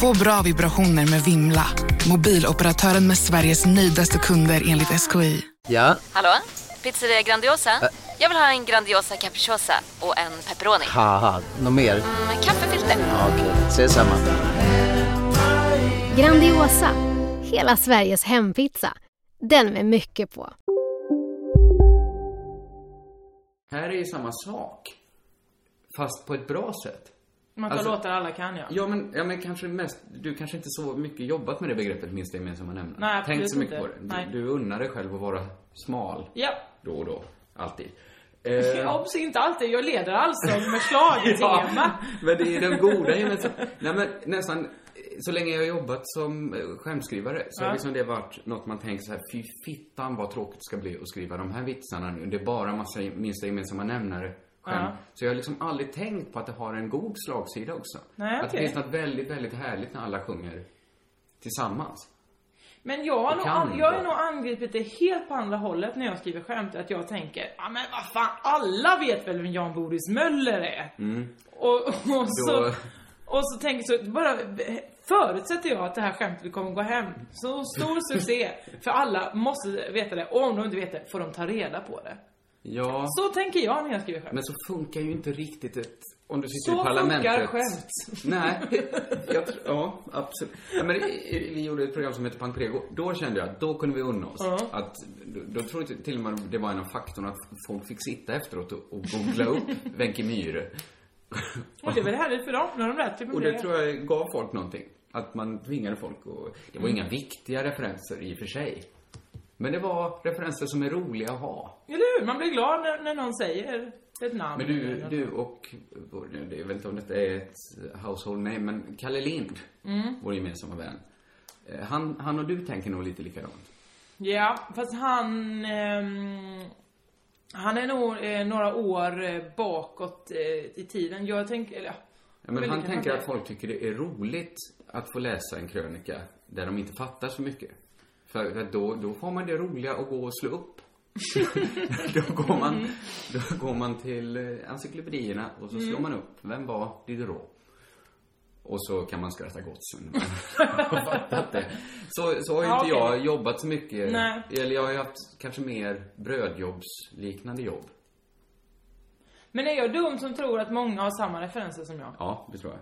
S4: Få bra vibrationer med Vimla. Mobiloperatören med Sveriges nöjdaste kunder enligt SKI.
S5: Ja,
S6: Hallå? Pizzeria Grandiosa? Jag vill ha en Grandiosa capriciosa och en pepperoni.
S5: haha, något mer?
S6: Med kaffefilter.
S5: Ja, Okej, ses samma.
S7: Grandiosa, hela Sveriges hempizza. Den med mycket på.
S2: Här är ju samma sak. Fast på ett bra sätt.
S3: Man tar
S2: Alltså-
S3: låtar alla kan ja.
S2: Ja men, ja, men kanske mest, du kanske inte så mycket jobbat med det begreppet minsta gemensamma nämnaren.
S3: Nej, absolut
S2: Tänk så mycket
S3: inte.
S2: på det.
S3: Nej.
S2: Du, du unnar dig själv att vara smal.
S3: Ja.
S2: Då och då. Alltid. Eh,
S3: ja. Obs, inte alltid. Jag leder alltså med schlagertema.
S2: men det är den goda gemensamma. Nej men nästan, eh, så länge jag har jobbat som eh, skämtskrivare så har liksom det varit något man tänker så här, fy fittan vad tråkigt det ska bli att skriva de här vitsarna nu. Det är bara massa gem- minsta gemensamma nämnare. skämt.
S3: Ja.
S2: Så jag har liksom aldrig tänkt på att det har en god slagsida också.
S3: Nej,
S2: att det
S3: okej.
S2: finns något väldigt, väldigt härligt när alla sjunger tillsammans.
S3: Men jag har, nog,
S2: kan
S3: an- jag har
S2: vara.
S3: nog angripit det helt på andra hållet när jag skriver skämt. Att jag tänker, ja men vad fan, alla vet väl vem Jan Boris Möller är? Och, och, så,
S2: Mm. Då-
S3: och så tänker så bara förutsätter jag att det här skämtet kommer gå hem. Så stor succé. För alla måste veta det. Och om de inte vet det får de ta reda på det.
S2: Ja,
S3: Så tänker jag när jag skriver skämt.
S2: men så funkar ju inte riktigt ett, om du sitter i
S3: Så
S2: parlamentet.
S3: funkar skämt.
S2: Nej, jag tror, ja, absolut. Ja, men i- i- vi gjorde ett program som hette Pank Prego. Då kände jag att då kunde vi unna oss. Att, då, då tror jag till och med det var en av faktorn att folk fick sitta efteråt och, och googla upp Wenche Myhre.
S3: Och det är väl härligt för dem, när de lät sig
S2: Och det tror jag gav folk någonting. Att man tvingade folk att... Det var inga viktiga referenser i och för sig. Men det var referenser som är roliga att ha.
S3: Eller hur? Man blir glad när, när någon säger ett namn.
S2: Men du, du och, vår- det- jag vet inte om detta är ett household name, men Kalle Lind, vår gemensamma vän. Eh, Han, han och du tänker nog lite likadant.
S3: Ja, fast han... ehm, han är nog eh, några år eh, bakåt eh, i tiden. Jag tänker... Eller, ja.
S2: Ja, men
S3: det
S2: han
S3: kan
S2: tänker
S3: man
S2: att
S3: säga.
S2: folk tycker det är roligt att få läsa en krönika där de inte fattar så mycket. För för att då, då får man det roliga att gå och slå upp. då, går
S3: Mm.
S2: man, då går man till eh, encyklopedierna och så slår
S3: Mm.
S2: man upp. Vem var Diderot? Och så kan man skratta gott sen. när man har fattat det. Så, så har ju
S3: Ja,
S2: inte
S3: okej.
S2: jag jobbat så mycket.
S3: Nej.
S2: Eller jag har ju haft kanske mer brödjobbsliknande jobb.
S3: Men är jag dum som tror att många har samma referenser som jag?
S2: Ja, det tror jag.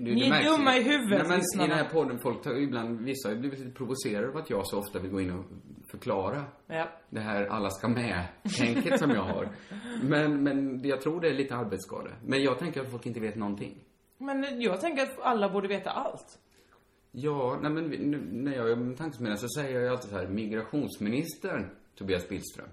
S2: Du,
S3: Ni är
S2: märks ju.
S3: dumma i huvudet,
S2: Nej, men
S3: lyssnarna.
S2: I den här podden, folk tar ju ibland, vissa har ju blivit lite provocerade av att jag så ofta vill gå in och förklara
S3: Ja.
S2: det här alla ska med-tänket som jag har. Men, men jag tror det är lite arbetsskada. Men jag tänker att folk inte vet någonting.
S3: Men jag tänker att alla borde veta allt.
S2: Ja, nej men vi- nu, när jag är med tankesmedjan så säger jag ju alltid så här, migrationsministern Tobias Billström.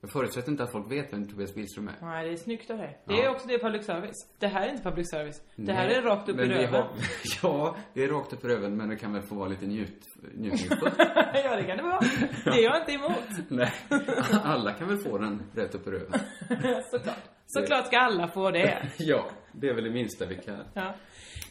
S2: Jag förutsätter inte att folk vet vem Tobias Billström är.
S3: Nej, det är snyggt av dig. Det är också det är public service. Det här är inte public service. Det här
S2: Nej,
S3: är rakt upp i
S2: men vi
S3: röven.
S2: har- Ja, det är rakt upp i röven, men det kan väl få vara lite njut, njutningsfullt.
S3: ja, det kan det vara. Det är jag inte emot.
S2: Nej, alla kan väl få den rätt upp i röven.
S3: Såklart. Såklart ska alla få det.
S2: Ja, det är väl det minsta vi kan.
S3: Ja.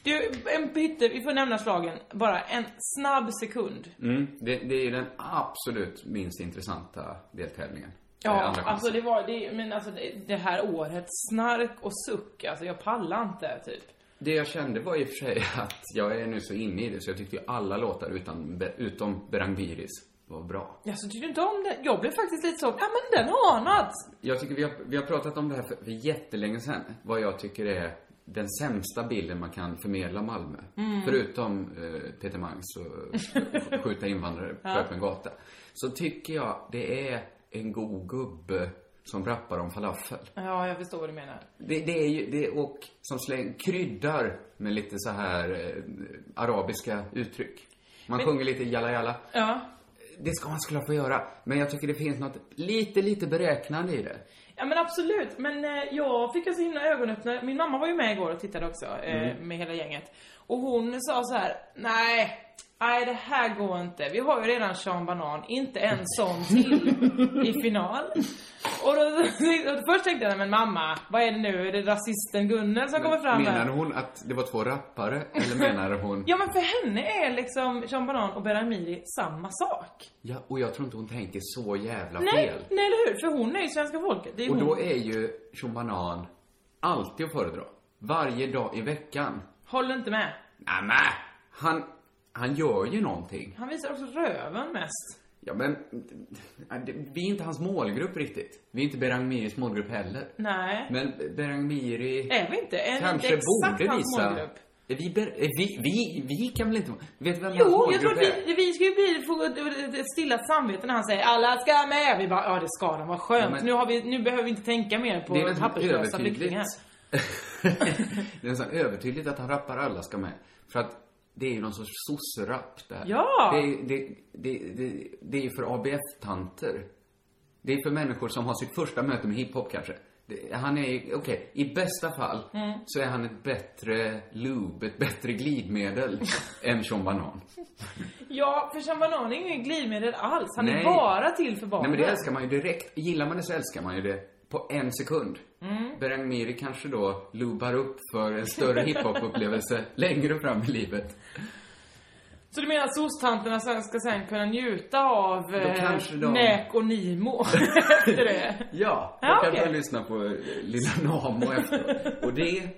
S3: Du, en pytte, vi får nämna slagen bara en snabb sekund.
S2: Mm, det, det är ju den absolut minst intressanta deltävlingen. Eh,
S3: Ja,
S2: andra
S3: alltså
S2: chansen.
S3: det var, det, men alltså det, det här året, snark och suck, alltså jag pallar inte typ.
S2: det jag kände var i och för sig att jag är nu så inne i det så jag tyckte ju alla låtar utan, be- utom Berangiris var bra.
S3: Ja, så tycker du inte om det? Jag blev faktiskt lite så, ja men den har anat!
S2: Jag tycker vi har, vi har pratat om det här för, för jättelänge sedan. Vad jag tycker är den sämsta bilden man kan förmedla Malmö. Förutom eh, Peter Mangs och och skjuta invandrare på öppen gata. Så tycker jag det är en god gubbe som rappar om falafel.
S3: Ja, jag förstår vad du menar.
S2: Det, det är ju, det, och som släng, kryddar med lite så här eh, arabiska uttryck. Man sjunger lite jalla jalla.
S3: Ja.
S2: Det ska man skulle få göra. Men jag tycker det finns något lite, lite beräknande i det.
S3: Ja men absolut, men eh, jag fick alltså himla ögonöppnare. Min mamma var ju med igår och tittade också eh,
S8: Mm.
S3: med hela gänget. Och hon sa så här: nej, nej det här går inte. Vi har ju redan Sean Banan, inte en sån till i final. Och då, och först tänkte jag, nej men mamma, vad är det nu? Är det rasisten Gunnel som kommer fram här?
S2: Menade hon att det var två rappare? Eller menade hon...
S3: Ja men för henne är liksom Sean Banan och Beramiri samma sak.
S2: Ja, och jag tror inte hon tänker så jävla
S3: Nej,
S2: fel.
S3: nej eller hur? För hon är ju svenska folket. Det är
S2: Och
S3: hon.
S2: då är ju Sean Banan alltid att föredra. Varje dag i veckan.
S3: Håller inte med.
S2: Nämen! Han, han gör ju någonting.
S3: Han visar också röven mest.
S2: Ja, men... det- Vi är inte hans målgrupp riktigt. Vi är inte Berang Miris målgrupp heller.
S3: Nej.
S2: Men Berang Miri...
S3: Är vi inte? Är vi
S2: kanske
S3: inte exakt
S2: borde
S3: hans
S2: visa...
S3: målgrupp?
S2: Är Vi, ber, är vi, vi, vi kan väl inte... Vet du vem hans
S3: Jo, jag tror
S2: målgrupp
S3: att
S2: är?
S3: vi, vi ska ju bli, få ett- ett stilla samvete när han säger alla ska med. Vi bara, ja det ska de, vad skönt.
S2: Ja, men-
S3: nu, har vi, nu behöver vi inte tänka mer
S2: Det är
S3: på
S2: väl
S3: papperslösa
S2: övertydligt.
S3: flyktingar.
S2: Det är nästan övertydligt att han rappar alla ska med. För att det är ju någon sorts sosserapp det här.
S3: Ja!
S2: Det är, det, det, det, det är ju för ABF-tanter. Det är för människor som har sitt första möte med hiphop kanske. Det, han är ju- okej, i bästa fall
S3: Mm.
S2: så är han ett bättre lube, ett bättre glidmedel än Sean Banan.
S3: Ja, för Sean Banan är ingen glidmedel alls. Han är
S2: Nej.
S3: bara till för
S2: Nej
S3: barnen.
S2: men det alltså- älskar man ju direkt. Gillar man det så älskar man ju det på en sekund.
S3: Mm.
S2: Berang Miri kanske då lubar upp för en större hiphop-upplevelse längre fram i livet.
S3: Så du menar att sostanterna sen ska sen kunna njuta av eh,
S2: kanske de-
S3: Näk och Nimo efter det?
S2: Ja,
S3: Ja,
S2: jag kan
S3: okej.
S2: få lyssna på eh, Lilla Namo efteråt. Och det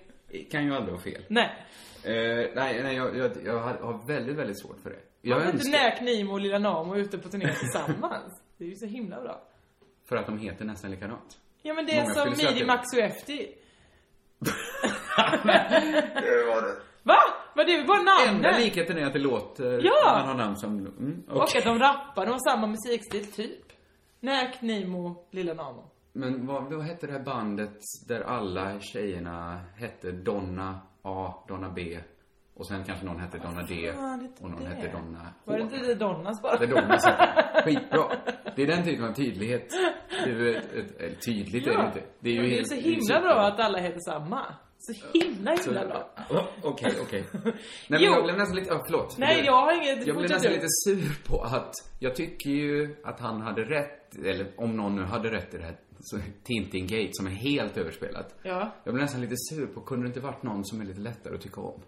S2: kan ju aldrig vara fel.
S3: Nej.
S2: Eh, nej, nej jag, jag, jag har har väldigt, väldigt svårt för det. Jag
S3: Varför inte
S2: önskar
S3: Näk, Nimo och Lilla Namo ute på turné tillsammans? Det är ju så himla bra.
S2: för att de heter nästan likadant.
S3: Ja men det är
S2: Många
S3: som
S2: skulle säga
S3: Midi
S2: att-
S3: Maxuefti. Va? Var det var
S2: Enda
S3: namnet?
S2: likheten är att det låter...
S3: Ja!
S2: Man har namn som... Mm, okej.
S3: Och att de rappar, de har samma musikstil typ. Näk, Nimo, Lilla Namo.
S2: Men vad, vad hette det här bandet där alla tjejerna hette Donna A, Donna B och sen kanske någon hette Donna D
S3: fan hette
S2: och någon
S3: det?
S2: hette Donna H.
S3: Var det inte det Donnas bara?
S2: Det är Donna som hette. Skitbra. Det är den typen av tydlighet. Det är ju ett, ett, eller tydligt är det
S3: Ja.
S2: inte. Det är ju
S3: Men
S2: helt-
S3: så himla bra att alla heter samma. Så himla
S2: Så-
S3: himla bra.
S2: Åh, Okej, okej. Nej men
S3: Jo.
S2: jag blev nästan lite, ja, förlåt.
S3: Nej, jag har inget-
S2: Jag blev
S3: fortsätt
S2: nästan
S3: du.
S2: lite sur på att, jag tycker ju att han hade rätt, eller om någon nu hade rätt i det här så- Tintin Gate som är helt överspelat.
S3: Ja.
S2: Jag blev nästan lite sur på, kunde det inte varit någon som är lite lättare att tycka om?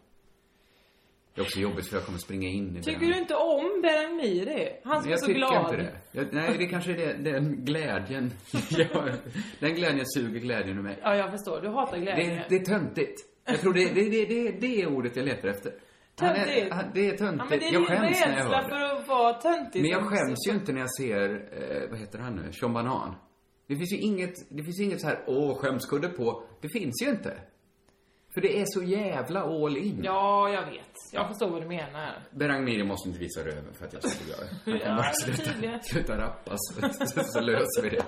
S2: Det är också jobbigt för jag kommer springa in i
S3: Tycker
S2: den.
S3: du inte om Beran Miri? Han som är
S2: jag
S3: så
S2: tycker
S3: glad.
S2: inte det. Jag, nej, det kanske är det, den glädjen. Jag- den glädjen suger glädjen ur mig.
S3: Ja, jag förstår. Du hatar glädje.
S2: Det, det är töntigt. Jag tror det, det, det, det, det är ordet jag letar efter. Han är-
S3: Töntigt.
S2: han- Det är
S3: Ja, men
S2: töntigt.
S3: det är
S2: jag
S3: din
S2: skäms när jag
S3: rädsla
S2: hör det.
S3: för att vara töntig.
S2: Men jag
S3: som-
S2: skäms ju inte när jag ser, eh, vad heter han nu, Sean Banan. Det finns ju inget, det finns ju inget så här, åh, skämskudde på. Det finns ju inte. För det är så jävla all in.
S3: Ja, jag vet. Jag förstår vad du menar.
S2: Berang Miri måste inte visa röven för att jag ska göra det. Han kan
S3: Ja,
S2: bara
S3: men
S2: sluta,
S3: tydligen.
S2: sluta rappa så, så, så löser vi det.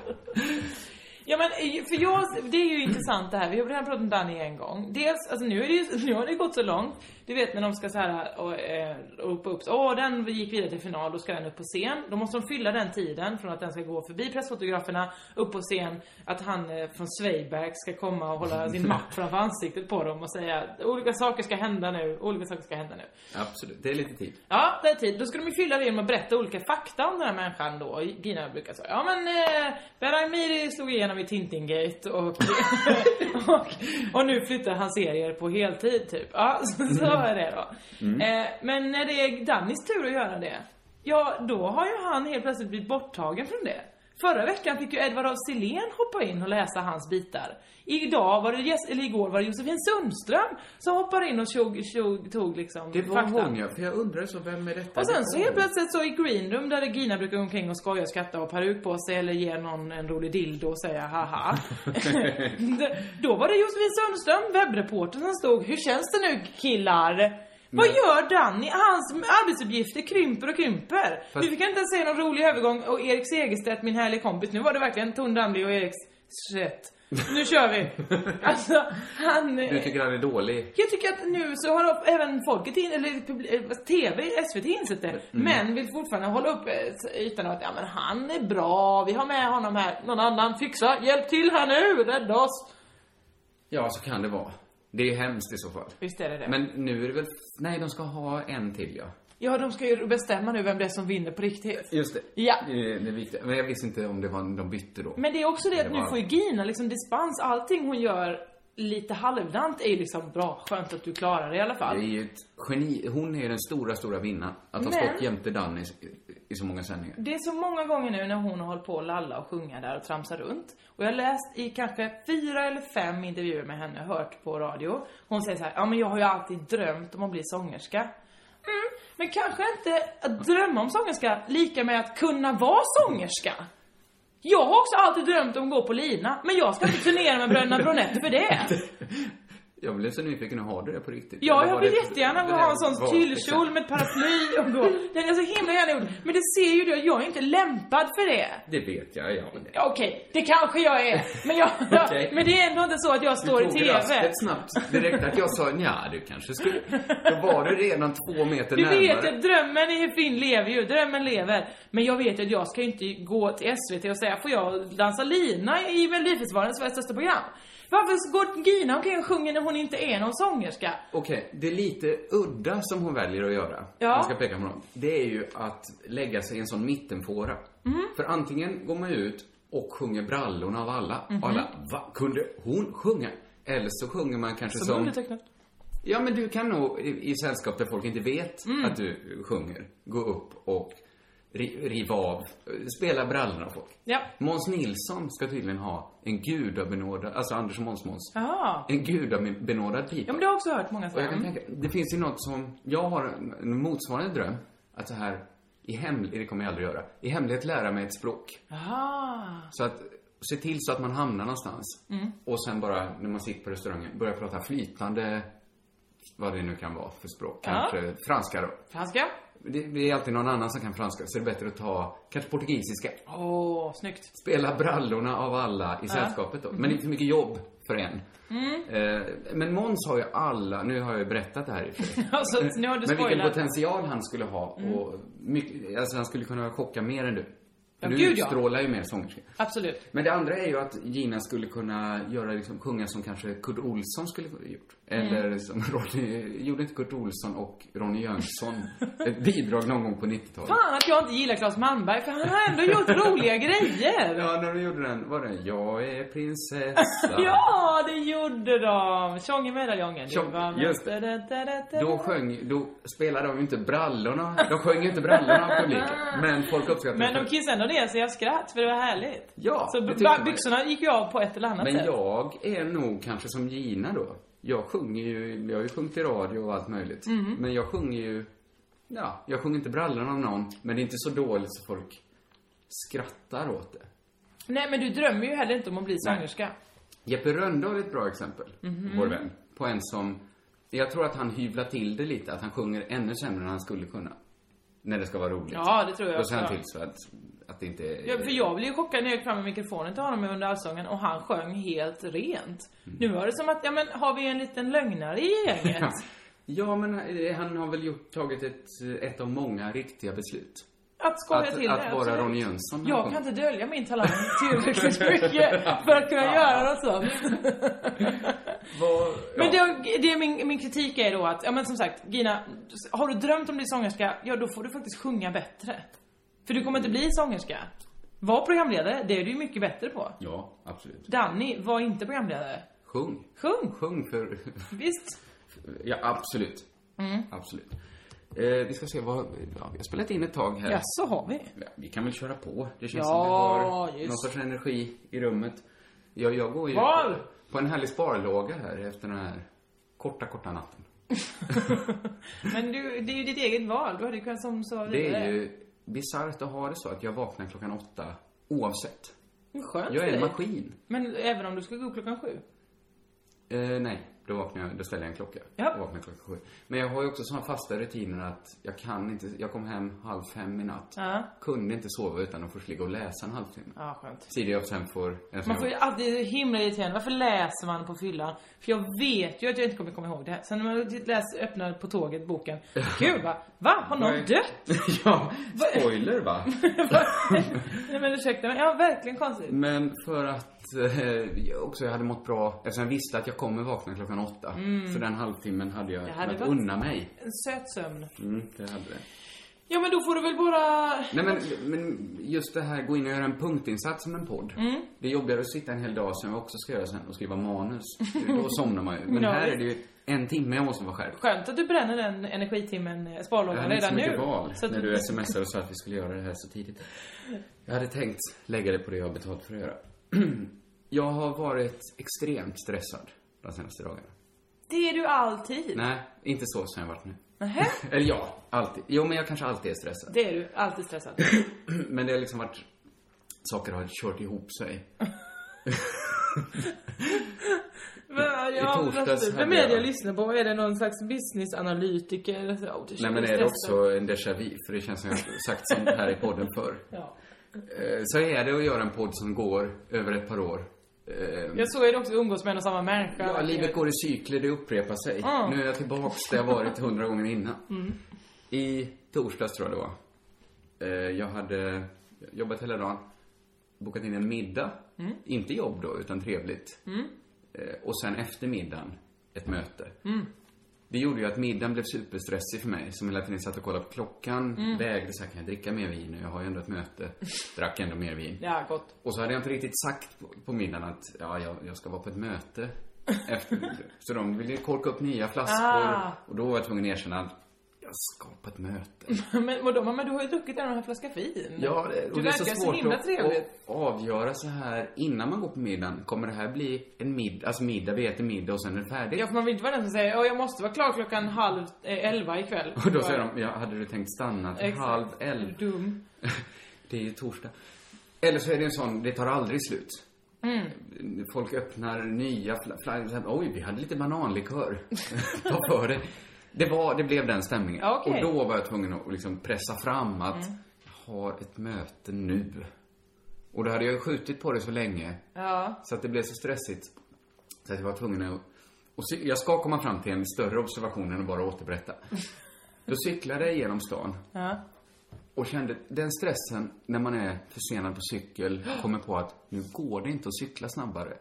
S3: Ja men, eh, för jag, det är ju intressant det här. Vi har redan pratat om Danny en gång. Dels, alltså nu, är det ju, nu har det gått så långt. Du vet när de ska så här och, eh, ropa upp, åh den gick vidare till final, då ska den upp på scen. Då måste de fylla den tiden från att den ska gå förbi pressfotograferna, upp på scen, att han eh, från Swayback ska komma och hålla sin mapp framför ansiktet på dem och säga, olika saker ska hända nu, olika saker ska hända nu.
S2: Absolut, det är lite tid.
S3: Ja, det är tid. Då ska de ju fylla det genom att berätta olika fakta om den här människan då. Gina brukar säga, ja men eh, Behrang Miri slog igenom i Tintingate och, och, och nu flyttar han serier på heltid typ. Ja, så, så är det då.
S2: Mm.
S3: Eh, men när det är Dannys tur att göra det, ja då har ju han helt plötsligt blivit borttagen från det. Förra veckan fick ju Edvard af Sillén hoppa in och läsa hans bitar. Idag var det, Jes- eller igår var det Josefin Sundström som hoppade in och tog, tog, tog liksom
S2: Det var hon ja, för jag undrade så, vem är detta?
S3: och sen så
S2: Det
S3: helt
S2: var hon.
S3: plötsligt så i greenroom där Gina brukar gå omkring och skoja och skratta och ha peruk på sig eller ge någon en rolig dildo och säga haha. Då var det Josefin Sundström, webbreportern som stod, hur känns det nu killar? Vad gör Danny? Hans arbetsuppgifter krymper och krymper.
S2: Fast-
S3: Nu fick jag inte ens säga någon rolig övergång och Erik Segerstedt, min härliga kompis, nu var det verkligen Torn Danli och Eriks shit. Nu kör vi. Alltså, han...
S2: Du tycker han är dålig?
S3: Jag tycker att nu så har även folket, in, eller publi- eh, TV, SVT insett det. Men vill fortfarande hålla upp eh, ytan av att ja, men han är bra, vi har med honom här. Någon annan, fixa, hjälp till här nu, rädda oss.
S2: Ja, så kan det vara. Det är ju hemskt i så fall.
S3: Visst är det det.
S2: Men nu är det väl... Nej, de ska ha en till, ja.
S3: Ja, de ska ju bestämma nu vem det är som vinner på riktigt.
S2: Just det.
S3: Ja.
S2: Det är det viktiga. Men jag visste inte om det var... De bytte då.
S3: Men det är också det att
S2: Det
S3: nu
S2: var-
S3: får ju Gina liksom dispens. Allting hon gör lite halvdant är ju liksom bra. Skönt att du klarar det i alla fall.
S2: Det är ju ett geni. Hon är den stora, stora vinnaren. Att ha
S3: Men-
S2: stått jämte Danny i så många sändningar.
S3: Det är så många gånger nu när hon har hållit på och lalla och sjunga där och tramsa runt. Och jag har läst i kanske fyra eller fem intervjuer med henne, hört på radio. Hon säger så här, ja men jag har ju alltid drömt om att bli sångerska. Mm, men kanske inte att drömma om sångerska lika med att kunna vara sångerska. Jag har också alltid drömt om att gå på lina, men jag ska inte turnera med bröderna Bronett för det.
S2: Jag blev så nyfiken. Har du det på riktigt?
S3: Ja,
S2: Eller
S3: jag
S2: var
S3: vill
S2: det-
S3: jättegärna
S2: det där
S3: ha en sån
S2: var-
S3: tyllkjol med ett paraply och gå. Den är så himla gärna gjord. Men det ser ju du, att jag är inte lämpad för det.
S2: Det vet jag, ja. Men det...
S3: Ja, Okej, det kanske jag är. Men, jag,
S2: Okej.
S3: men det är ändå inte så att jag står i
S2: Du tog
S3: TV.
S2: raspet snabbt. Det räckte att jag sa nja, du kanske skulle... Då var du redan två meter
S3: Du
S2: närmare.
S3: vet att drömmen är fin lever ju, drömmen lever. Men jag vet ju att jag ska ju inte gå till SVT och säga, får jag dansa lina i Melodifestivalen, Sveriges största program? Varför går Gina omkring och sjunger när hon inte är någon sångerska?
S2: Okej, det är lite udda som hon väljer att göra.
S3: Ja.
S2: om Jag ska peka på dem. Det är ju att lägga sig i en sån mittenfåra.
S3: Mhm.
S2: För antingen går man ut och sjunger brallorna av alla.
S3: Mhm.
S2: Och alla, va? Kunde hon sjunga? Eller så sjunger man kanske
S3: Som
S2: som...
S3: undertecknat.
S2: Ja, men du kan nog i, i sällskap där folk inte vet
S3: Mm.
S2: att du sjunger, gå upp och ri, riva av, eh, spela brallorna av folk.
S3: Ja.
S2: Måns Nilsson ska tydligen ha en gudabenådad, alltså Anders Måns-Måns,
S3: Jaha.
S2: en gudabenådad pipa.
S3: Ja men det har jag också hört många
S2: Och jag kan
S3: säga.
S2: tänka, det finns ju något som, jag har en- en motsvarande dröm, att så här, i hemlighet, det kommer jag aldrig göra, i hemlighet lära mig ett språk.
S3: Jaha.
S2: Så att, se till så att man hamnar någonstans.
S3: Mm.
S2: Och sen bara, när man sitter på restaurangen, börja prata flytande, vad det nu kan vara för språk.
S3: Ja.
S2: Kanske franska då.
S3: Franska?
S2: Det, det är alltid någon annan som kan franska, så det är bättre att ta kanske portugisiska.
S3: Åh, snyggt.
S2: Spela brallorna av alla i sällskapet
S3: Mm.
S2: då. Men det är för mycket jobb för en. Eh, men Måns har ju alla, nu har jag ju berättat det här i och för sig.
S3: Alltså, nu har du
S2: Men vilken
S3: spoilat. Mm.
S2: potential han skulle ha och mycket, alltså han skulle kunna chocka mer än du.
S3: Ja,
S2: du
S3: gud, ja.
S2: utstrålar ju mer sångerska.
S3: Absolut.
S2: Men det andra är ju att Gina skulle kunna göra, liksom, sjunga som kanske Kurt Olsson skulle ha gjort.
S3: Mm.
S2: Eller som Ronny, gjorde inte Kurt Olsson och Ronny Jönsson ett bidrag någon gång på 90-talet?
S3: Fan att jag inte gillar Claes Malmberg för han har ändå gjort roliga grejer.
S2: Ja, när de gjorde den, var det Jag är prinsessa.
S3: Ja, det gjorde de. Tjong i medaljongen. Du
S2: Tjong,
S3: var
S2: just det.
S3: mäster-
S2: Då sjöng, då spelade de ju inte brallorna, de sjöng ju inte brallorna av publiken. Men folk uppskattade
S3: Men de
S2: det.
S3: kissade ändå ner sig av skratt för det var härligt.
S2: Ja,
S3: Så
S2: det
S3: b-
S2: tyckte man ju.
S3: byxorna gick ju av på ett eller annat
S2: Men
S3: sätt.
S2: jag är nog kanske som Gina då. Jag sjunger ju, jag har ju sjungit i radio och allt möjligt.
S3: Mhm.
S2: Men jag sjunger ju, ja, jag sjunger inte brallorna av någon. Men det är inte så dåligt så folk skrattar åt det.
S3: Nej men du drömmer ju heller inte om att bli sångerska.
S2: Jeppe Rönndahl är ett bra exempel,
S3: Mhm.
S2: vår vän. På en som, jag tror att han hyvlar till det lite. Att han sjunger ännu sämre än han skulle kunna. När det ska vara roligt.
S3: Ja, det tror jag
S2: Och sen
S3: också.
S2: till så att, att det inte är...
S3: Ja, för jag blev ju chockad när jag gick fram med mikrofonen till honom under allsången och han sjöng helt rent.
S2: Mm.
S3: Nu var det som att, ja men har vi en liten lögnare i gänget?
S2: Ja, men eh, han har väl gjort, tagit ett, ett av många riktiga beslut.
S3: Att skoja
S2: Att-
S3: till
S2: att
S3: det,
S2: vara
S3: absolut.
S2: Ronny Jönsson.
S3: Jag kan inte dölja min talang tillräckligt mycket för att kunna göra något sånt.
S2: Vad-
S3: Men
S2: ja.
S3: det, det är min, min kritik är då att, ja men som sagt, Gina, har du drömt om att bli sångerska, ja då får du faktiskt sjunga bättre. För du kommer inte bli sångerska. Var programledare, det är du ju mycket bättre på.
S2: Ja, absolut.
S3: Danny, var inte programledare.
S2: Sjung.
S3: Sjung!
S2: Sjung för...
S3: Visst?
S2: ja, absolut.
S3: Mm.
S2: Absolut. Eh, vi ska se vad... Ja, vi har spelat in ett tag här.
S3: Ja, så har vi.
S2: Ja, Vi kan väl köra på. Det känns
S3: Ja,
S2: som vi har
S3: just.
S2: någon sorts energi i rummet. Jag, jag går ju
S3: Var?
S2: på, på en härlig sparlåga här efter den här korta, korta natten.
S3: Men du, det är ju ditt eget val. Du hade ju kunnat som sa
S2: Det är ju bisarrt att ha det så att jag vaknar klockan åtta oavsett.
S3: Skönt
S2: Jag
S3: för
S2: är en
S3: dig.
S2: maskin.
S3: Men även om du ska gå upp klockan sju?
S2: Eh, nej, då Då, vaknar jag, då ställer jag en klocka.
S3: Ja.
S2: Jag vaknar klockan sju. Men jag har ju också såna fasta rutiner att jag kan inte, jag kom hem halv fem i natt.
S3: Ja.
S2: Kunde inte sova utan att först ligga och läsa en halvtimme.
S3: Ja, skönt.
S2: Tidigare jag sen får... en sån
S3: Man får ju
S2: här-
S3: alltid det är himla irriterande. Varför läser man på fyllan? För jag vet ju att jag inte kommer komma ihåg det här. Sen när man läser, öppnar på tåget boken. Gud va? Va? Har någon
S2: Nej.
S3: dött?
S2: ja, spoiler va?
S3: Nej men ursäkta men ja verkligen konstigt.
S2: Men för att eh, jag också jag hade mått bra eftersom jag visste att jag kommer vakna klockan åtta.
S3: Mm.
S2: Så den halvtimmen hade jag
S3: Det hade
S2: kunnat
S3: varit-
S2: unna mig.
S3: En söt sömn.
S2: Mm, det hade det.
S3: Ja men då får du väl bara...
S2: Nej men, men just det här gå in och göra en punktinsats som en podd.
S3: Mm.
S2: Det är jobbigare att sitta en hel dag som jag också ska göra sen och skriva manus. Då somnar man ju. Men
S3: Ja,
S2: här
S3: visst.
S2: är det ju en timme jag måste vara skärpt.
S3: Skönt att du bränner den energitimmen, eh,
S2: Jag
S3: sparlågan
S2: hade inte
S3: redan
S2: så mycket
S3: nu.
S2: val
S3: Så att-
S2: när du smsade och sa att vi skulle göra det här så tidigt. Jag hade tänkt lägga det på det jag har betalt för att göra. Jag har varit extremt stressad de senaste dagarna.
S3: Det är du alltid.
S2: Nej, inte så som jag har varit nu.
S3: Nähä?
S2: Eller ja, alltid. Jo, men jag kanske alltid är stressad.
S3: Det är du. Alltid stressad.
S2: Men det har liksom varit... Saker har kört ihop sig.
S3: Men, ja,
S2: I
S3: men
S2: torsdags
S3: alltså, Vem
S2: hade
S3: är det jag
S2: jag-
S3: lyssnar på? Är det någon slags businessanalytiker? Så, oh,
S2: Nej, men är det också en déjà vu? För det känns som jag har sagt sånt här i podden förr.
S3: Ja.
S2: Eh, Så är det att göra en podd som går över ett par år. Eh,
S3: Jag såg ju det också umgås med en och samma människa.
S2: Ja, livet går i cykler, det upprepar sig.
S3: Ja.
S2: Nu är jag tillbaks där jag varit hundra gånger innan.
S3: Mm.
S2: I torsdags tror jag det var. Eh, Jag hade jobbat hela dagen, bokat in en middag.
S3: Mm.
S2: Inte jobb då, utan trevligt.
S3: Mm.
S2: Eh, Och sen efter middagen, ett möte.
S3: Mm.
S2: Det gjorde ju att middagen blev superstressig för mig som hela tiden satt och kollade på klockan,
S3: Mm.
S2: vägde så här, kan jag dricka mer vin? Jag har ju ändå ett möte. Drack ändå mer vin.
S3: Ja, gott.
S2: Och så hade jag inte riktigt sagt på, på middagen att ja, jag, jag ska vara på ett möte. Efter, så de ville ju korka upp nya flaskor.
S3: Ah.
S2: Och då var jag tvungen att erkänna att jag ska på ett möte.
S3: Mm. men, vadå, mamma, du har ju druckit en och en flaska fin.
S2: Ja, det, och
S3: du
S2: det är
S3: verkar
S2: så
S3: så,
S2: svårt
S3: himla trevlig.
S2: att, att avgöra så här innan man går på middagen. Kommer det här bli en middag, alltså middag, vi äter middag och sen är det färdigt?
S3: Ja, för man vill inte vara den som säger "Åh, jag måste vara klar klockan halv eh, elva ikväll.
S2: Och då säger de, ja, hade du tänkt stanna till
S3: Exakt.
S2: halv elva?
S3: Dum.
S2: Det är ju torsdag. Eller så är det en sån, det tar aldrig slut.
S3: Mm.
S2: Folk öppnar nya flaggor. Oj, vi hade lite bananlikör. Ta för det. Det, var, det blev den stämningen.
S3: Ja, okej. Mm.
S2: Och då var jag tvungen att liksom pressa fram att jag har ett möte nu. Och då hade jag ju skjutit på det så länge.
S3: Ja.
S2: Så att det blev så stressigt. Så att jag var tvungen att... Och cy- jag ska komma fram till en större observation än att bara återberätta. Då cyklade jag genom stan.
S3: Ja.
S2: Och kände den stressen när man är försenad på cykel kommer på att nu går det inte att cykla snabbare.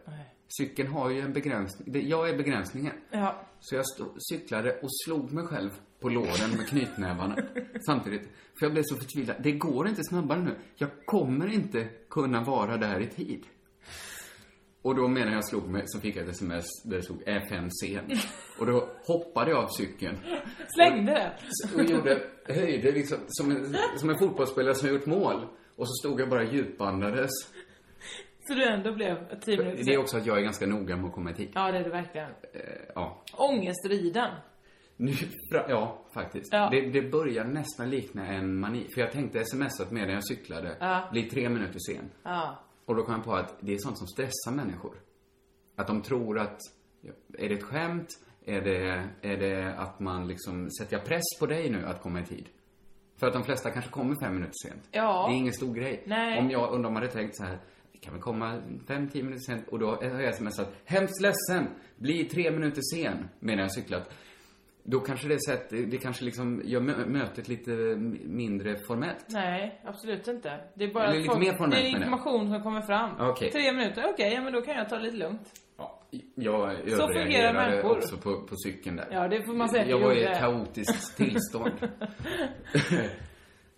S2: Cykeln har ju en begränsning. det- Jag är begränsningen.
S3: Ja.
S2: Så jag stod, cyklade och slog mig själv på låren med knytnävarna samtidigt. För jag blev så förtvivlad. Det går inte snabbare nu. Jag kommer inte kunna vara där i tid. Och då medan jag slog mig så fick jag ett sms där det stod F5 sen. Och då hoppade jag av cykeln
S3: Slängde det.
S2: och gjorde, höjde liksom, som en, som en fotbollsspelare som har gjort mål. Och så stod jag bara djupandades.
S3: Så du ändå blev tio minuter
S2: Det är också att jag är ganska noga med att komma i tid.
S3: Ja, det är du verkligen.
S2: Ja.
S3: Ångestriden.
S2: Nu, fra- ja, faktiskt.
S3: Ja.
S2: Det, det börjar nästan likna en mani. För jag tänkte smsat medan jag cyklade.
S3: Ja.
S2: Bli tre minuter sen.
S3: Ja.
S2: Och då kom jag på att det är sånt som stressar människor. Att de tror att, ja, är det ett skämt? Är det, är det att man liksom, sätter jag press på dig nu att komma i tid? För att de flesta kanske kommer fem minuter sent.
S3: Ja.
S2: Det är ingen stor grej.
S3: Nej.
S2: Om jag, undrar om man hade tänkt så här, vi kan väl komma fem, tio minuter sent. Och då har jag smsat, hemskt ledsen, bli tre minuter sen, medan jag cyklat. Då kanske det sätt, det kanske liksom gör mö- mötet lite mindre formellt.
S3: Nej, absolut inte. Det är bara
S2: Eller
S3: att
S2: lite mer formellt,
S3: Det är
S2: menar jag.
S3: information som kommer fram.
S2: Okej.
S3: Tre minuter, okej, ja, men då kan jag ta det lite lugnt.
S2: Jag
S3: Så fungerar
S2: överreagerade
S3: människor.
S2: också på, på cykeln där.
S3: Ja, det får man säga att
S2: Jag
S3: du
S2: var i
S3: gjorde.
S2: ett kaotiskt tillstånd.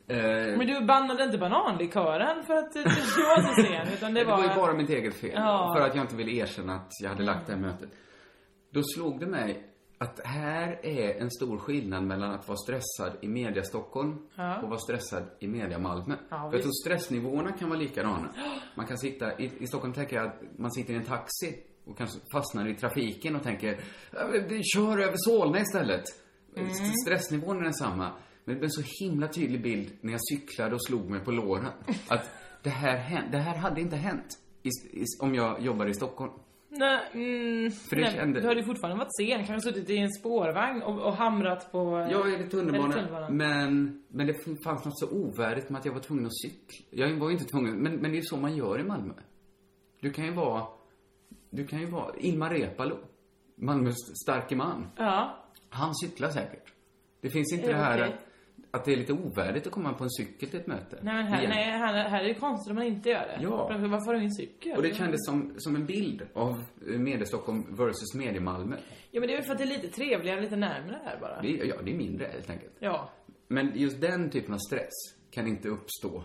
S2: Eh,
S3: Men du bannade inte bananlikören för att eh, du var så sen, utan det
S2: Det
S3: var...
S2: var ju bara mitt eget fel.
S3: Ja.
S2: För att jag inte ville erkänna att jag hade lagt det här mötet. Då slog det mig att här är en stor skillnad mellan att vara stressad i media Stockholm
S3: Ja.
S2: och vara stressad i media Malmö.
S3: Ja,
S2: För jag
S3: visst.
S2: tror stressnivåerna kan vara likadana. Man kan sitta, i, i Stockholm tänker jag att man sitter i en taxi och kanske fastnar i trafiken och tänker, "Ja, men vi kör över Solna istället.
S3: Mm.
S2: St- Stressnivån är densamma. Men det blev en så himla tydlig bild när jag cyklade och slog mig på låren. Att det här, hän- det här hade inte hänt i, i, om jag jobbade i Stockholm.
S3: Nej, mm,
S2: För det
S3: nej,
S2: kände-
S3: Du hade ju fortfarande varit sen, kanske suttit i en spårvagn och, och hamrat på...
S2: Jag är i
S3: eller
S2: tunnelbana, men, men det fanns något så ovärdigt med att jag var tvungen att cykla. Jag var ju inte tvungen, men, men det är så man gör i Malmö. Du kan ju vara, du kan ju vara Ilmar Reepalu, Malmös starke man.
S3: Ja.
S2: Han cyklar säkert. Det finns inte
S3: Ja,
S2: det här
S3: okej.
S2: att, att det är lite ovärdigt att komma på en cykel till ett möte.
S3: Nej men här,
S2: Igen.
S3: nej, här, här är det konstigt om man inte gör det.
S2: Ja.
S3: Varför varför har du ingen cykel?
S2: Och det kändes som, som en bild av eh, Mediestockholm versus Mediemalmö.
S3: Ja men det är väl för att det är lite trevligare, lite närmare här bara.
S2: Det är, ja, det är mindre helt enkelt.
S3: Ja.
S2: Men just den typen av stress kan inte uppstå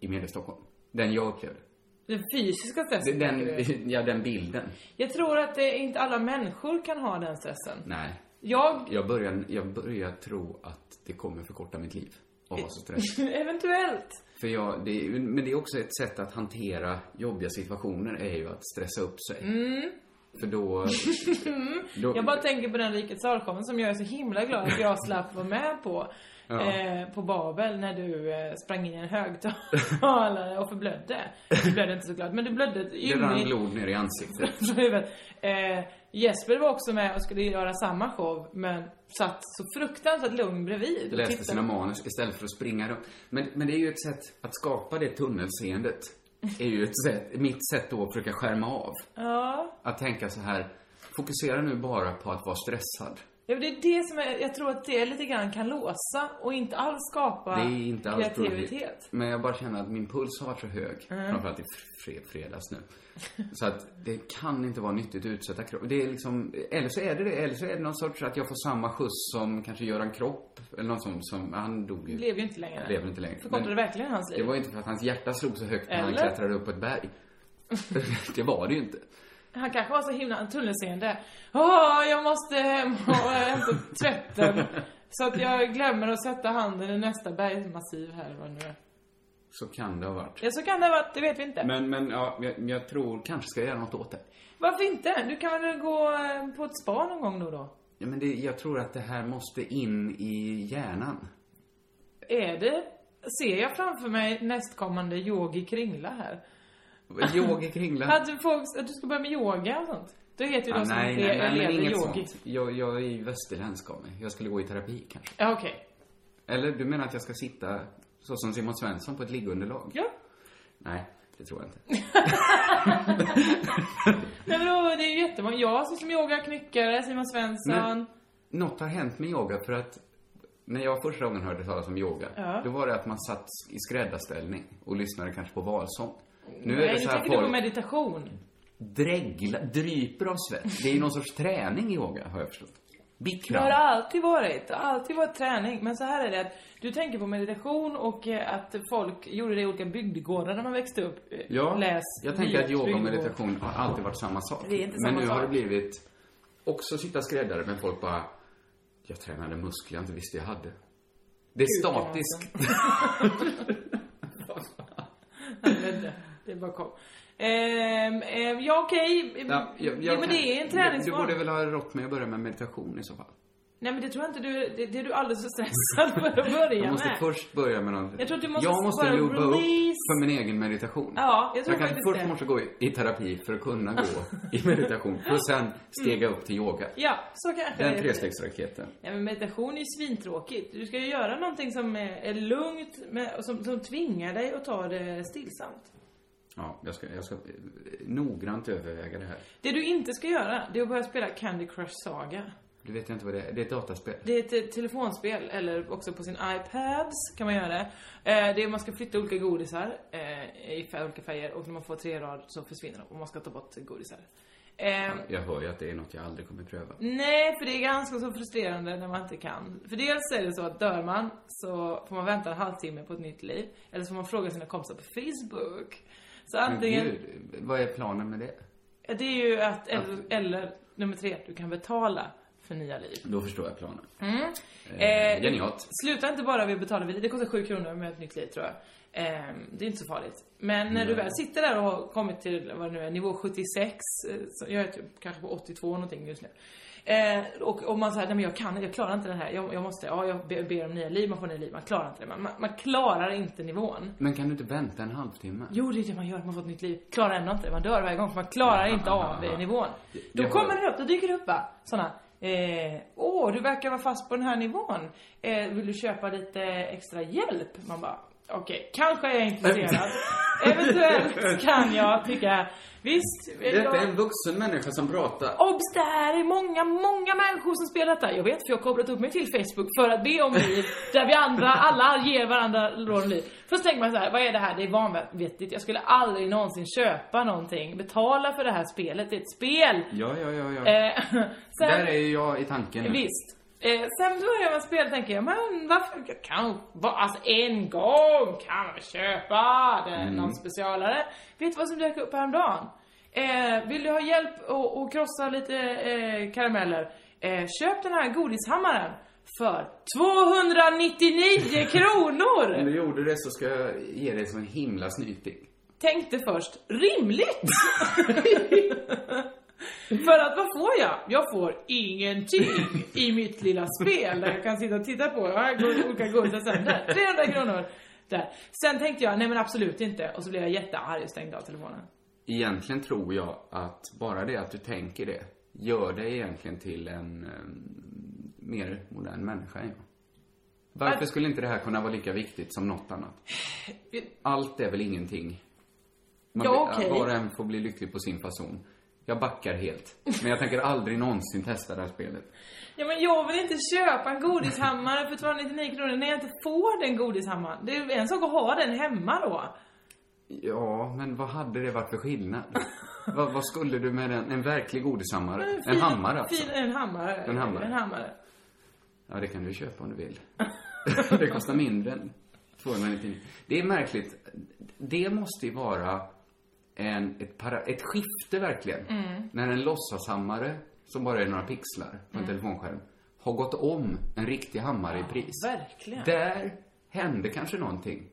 S2: i Mediestockholm. Den jag upplevde.
S3: Den fysiska
S2: Det-
S3: stressen. tänker du?
S2: Den, ja, den bilden.
S3: Jag tror att det, inte alla människor kan ha den stressen.
S2: Nej.
S3: Jag,
S2: Jag börjar, jag börjar tro att det kommer förkorta mitt liv. Att vara så stressad.
S3: eventuellt.
S2: För jag, det är, ju- men det är också ett sätt att hantera jobbiga situationer är ju att stressa upp sig.
S3: Mm.
S2: För då,
S3: Mm.
S2: Då-
S3: Jag bara tänker på den Rikets Arkoven som jag är så himla glad att jag slapp vara med på.
S2: Ja.
S3: Eh, på Babel när du eh, sprang in i en högtalare och förblödde. Du blödde inte så glad, men du blödde ett
S2: det rann
S3: ymnigt
S2: blod ner i ansiktet.
S3: från huvudet. Eh, Jesper var också med och skulle göra samma show men satt så fruktansvärt lugn bredvid. och
S2: Läste
S3: tittade.
S2: sina manus istället för att springa runt. Men, men det är ju ett sätt att skapa det tunnelseendet. är ju ett sätt, mitt sätt då att försöka skärma av.
S3: Ja.
S2: Att tänka så här, fokusera nu bara på att vara stressad.
S3: Ja, men det är det som är, jag tror att det lite grann kan låsa och inte alls skapa
S2: Det är inte alls
S3: kreativitet.
S2: Men jag bara känner att min puls har varit så hög.
S3: Mm.
S2: Framförallt i fre- fredags nu. Så att det kan inte vara nyttigt att utsätta kroppen. Det är liksom, eller så är det det. Eller så är det någon sorts att jag får samma skjuts som kanske Göran Kropp. Eller någon som, som han dog ju.
S3: Lever ju inte längre.
S2: Lever inte längre.
S3: Förkortade
S2: Men
S3: verkligen hans liv.
S2: Det var ju inte för att hans hjärta slog så högt när han
S3: Eller?
S2: klättrade upp på ett berg. det var det ju inte.
S3: Han kanske var så himla tunnelseende. Åh, jag måste hem och hämta tvätten. Så att jag glömmer att sätta handen i nästa bergsmassiv här. Vad nu är.
S2: Så kan det ha varit.
S3: Ja, så kan det ha varit, det vet vi inte.
S2: Men, men ja, jag, jag tror kanske ska jag göra något åt det.
S3: Varför inte? Du kan väl gå eh, på ett spa någon gång då och då?
S2: Ja, men det, jag tror att det här måste in i hjärnan.
S3: Är det? Ser jag framför mig nästkommande yogi kringla här?
S2: Yogi kringla.
S3: Att du, får, att du ska börja med yoga och sånt? Det heter ju
S2: Ah,
S3: de som
S2: nej,
S3: inte
S2: nej,
S3: är
S2: nej, men
S3: elever
S2: inget
S3: yogi.
S2: sånt. Jag, jag är ju västerländsk av mig. Jag skulle gå i terapi kanske.
S3: Ja, okej.
S2: Eller du menar att jag ska sitta så som Simon Svensson på ett liggunderlag?
S3: Ja.
S2: Nej, det tror jag inte.
S3: Nej men då, det är ju jättemånga. Jag sysslar med yoga, knyckare, Simon Svensson.
S2: Men något har hänt med yoga för att när jag första gången hörde talas om yoga,
S3: Ja.
S2: då var det att man satt i skräddarställning och lyssnade kanske på valsång. Nu
S3: Nej,
S2: är det
S3: nu
S2: så här
S3: tänker du på
S2: folk
S3: meditation.
S2: dregla, dryper av svett. Det är ju någon sorts träning i yoga, har jag förstått.
S3: Det
S2: Bikram.
S3: har alltid varit, det har alltid varit träning. Men så här är det att du tänker på meditation och eh, att folk gjorde det i olika bygdegårdar när man växte upp. Eh,
S2: Ja,
S3: Läs
S2: jag tänker att
S3: byars
S2: yoga och
S3: bygdegård.
S2: meditation har alltid varit samma sak.
S3: Det är inte
S2: men
S3: samma
S2: nu har
S3: sak.
S2: det blivit också sitta skräddare, men folk bara, jag tränade muskler jag inte visste jag hade. Det är
S3: Kuken,
S2: statiskt.
S3: Jag vet inte. Det bara kom. Ehm, ehm, ja okej.
S2: Ja, jag- jag kan-
S3: men det är en
S2: Du, du
S3: träningsform.
S2: borde väl ha rått mig att börja med meditation i så fall.
S3: Nej men det tror jag inte du, det, det är du alldeles för stressad för att börja
S2: Jag måste
S3: med.
S2: först börja med någon...
S3: Jag tror att du måste
S2: jag måste
S3: bara
S2: lubba
S3: release.
S2: upp för min egen meditation.
S3: Ja, jag tror
S2: jag kanske
S3: faktiskt
S2: först
S3: det.
S2: måste gå i, i terapi för att kunna gå i meditation. Och sen stega upp till yoga.
S3: Mm. Ja, så kanske
S2: Den
S3: det är.
S2: trestegsraketen.
S3: Nej men meditation är ju svintråkigt. Du ska ju göra någonting som är, är lugnt med, och som, som tvingar dig att ta det stillsamt.
S2: Ja, jag ska, jag ska eh, noggrant överväga det här.
S3: Det du inte ska göra, det är att börja spela Candy Crush Saga.
S2: Du vet jag inte vad det är. Det är ett dataspel.
S3: Det är ett eh, telefonspel, eller också på sin iPads kan man göra det. Eh, det är man ska flytta olika godisar eh, i fär- olika färger och när man får tre rad så försvinner de och man ska ta bort godisar. Eh,
S2: Jag hör ju att det är något jag aldrig kommer pröva.
S3: Nej, för det är ganska så frustrerande när man inte kan. För dels är det så att dör man så får man vänta en halvtimme på ett nytt liv. Eller så får man fråga sina kompisar på Facebook. Så antingen,
S2: Men gud, vad är planen med det?
S3: det är ju att, eller, eller nummer tre, du kan betala för nya liv.
S2: Då förstår jag planen.
S3: Mm.
S2: Eh, genialt.
S3: Sluta inte bara vid betalning. Det kostar 7 kronor med ett nytt liv tror jag. Eh, det är inte så farligt. Men när du
S2: Nej.
S3: väl sitter där och har kommit till, vad det nu är, nivå 76. eh, så Jag är typ kanske på 82 någonting just nu. Eh, och om man säger, nej men jag kan jag klarar inte den här. Jag, jag måste, ja jag be- ber om nya liv, man får nya liv. Man klarar inte det. Man, man, man klarar inte nivån.
S2: Men kan du inte vänta en halvtimme?
S3: Jo, det är det man gör. Man får ett nytt liv. Klarar ändå inte det. Man dör varje gång för man klarar inte av eh, nivån. Då
S2: Jag
S3: kommer det upp, då dyker det upp va? Såna. Eh, åh, du verkar vara fast på den här nivån. Eh, vill du köpa lite extra hjälp? Man bara, okej, kanske är jag intresserad. Eventuellt kan jag tycka, visst. vill
S2: Detta
S3: jag-
S2: är en vuxen människa som pratar.
S3: Obs! Det här är många, många människor som spelar detta. Jag vet, för jag har kopplat upp mig till Facebook för att be om liv. Där vi andra, alla ger varandra råd om liv. Först tänker man så här, vad är det här? Det är vanvettigt. Jag skulle aldrig någonsin köpa någonting. Betala för det här spelet. Det är ett spel.
S2: Ja, ja, ja, ja.
S3: Eh, sen,
S2: Där är ju jag i tanken nu.
S3: Visst. Eh, sen börjar man spela tänker jag, men varför jag kan va, Alltså en gång kan man köpa den,
S8: Mm.
S3: någon specialare. Vet du vad som dök upp häromdagen? Eh, vill du ha hjälp och, och krossa lite eh, karameller? Eh, köp den här godishammaren för 299 kronor!
S2: Om du gjorde det så ska jag ge dig som en himla snyting.
S3: tänkte först rimligt. För att vad får jag? Jag får ingenting i mitt lilla spel där jag kan sitta och titta på. Ja, Här går olika guld sen. Där, 300 kronor. Där. Sen tänkte jag, nej men absolut inte. Och så blev jag jättearg och stängde av telefonen.
S2: Egentligen tror jag att bara det att du tänker det gör dig egentligen till en eh, mer modern människa än jag. Varför
S3: Att-
S2: skulle inte det här kunna vara lika viktigt som något annat? Allt är väl ingenting.
S3: Ja,
S2: blir-
S3: okej.
S2: Var och en får bli lycklig på sin fason. Jag backar helt. Men jag tänker aldrig någonsin testa det här spelet.
S3: Ja men jag vill inte köpa en godishammare för 299 kronor när jag inte får den godishammaren. Det är en sak att ha den hemma då.
S2: Ja, men vad hade det varit för skillnad? vad, vad skulle du med en, en verklig godishammare? En,
S3: fin-
S2: hammare alltså?
S3: Fin, en hammare.
S2: En hammare.
S3: En hammare.
S2: Ja, det kan du köpa om du vill. det kostar mindre än 299. Det är märkligt. Det måste ju vara en, ett, para, ett skifte verkligen.
S3: Mm.
S2: När en låtsashammare, som bara är några pixlar på en
S3: Mm.
S2: telefonskärm, har gått om en riktig hammare i pris.
S3: Verkligen.
S2: Där hände kanske någonting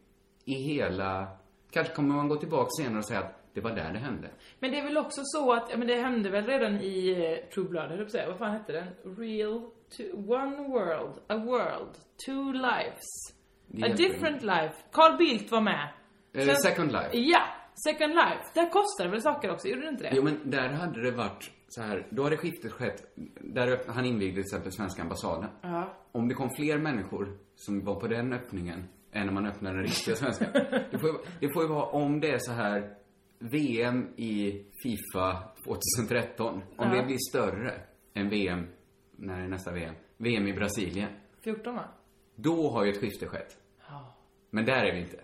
S2: i hela... Kanske kommer man gå tillbaka senare och säga att det var där det hände.
S3: Men det är väl också så att, ja, men det hände väl redan i eh, True Blood, höll jag på att säga. Vad fan hette den? Real, to, One World, A World, Two Lives.
S2: Det
S3: A
S2: hjälper
S3: Different Life. Carl Bildt var med.
S2: Eh, Second Life.
S3: Ja, Second Life. Där kostade väl saker också, gjorde det inte det?
S2: Jo, men där hade det varit så här. Då hade skiftet skett. Där öpp- han invigde till exempel svenska ambassaden.
S3: Ja.
S2: Om det kom fler människor som var på den öppningen än när man öppnade den riktiga svenska. det, får ju, det får ju vara om det är så här VM i Fifa 2013. Om
S3: Ja.
S2: det blir större än VM, när är nästa VM? VM i Brasilien.
S3: 14 va?
S2: Då har ju ett skifte skett.
S3: Ja.
S2: Men där är vi inte.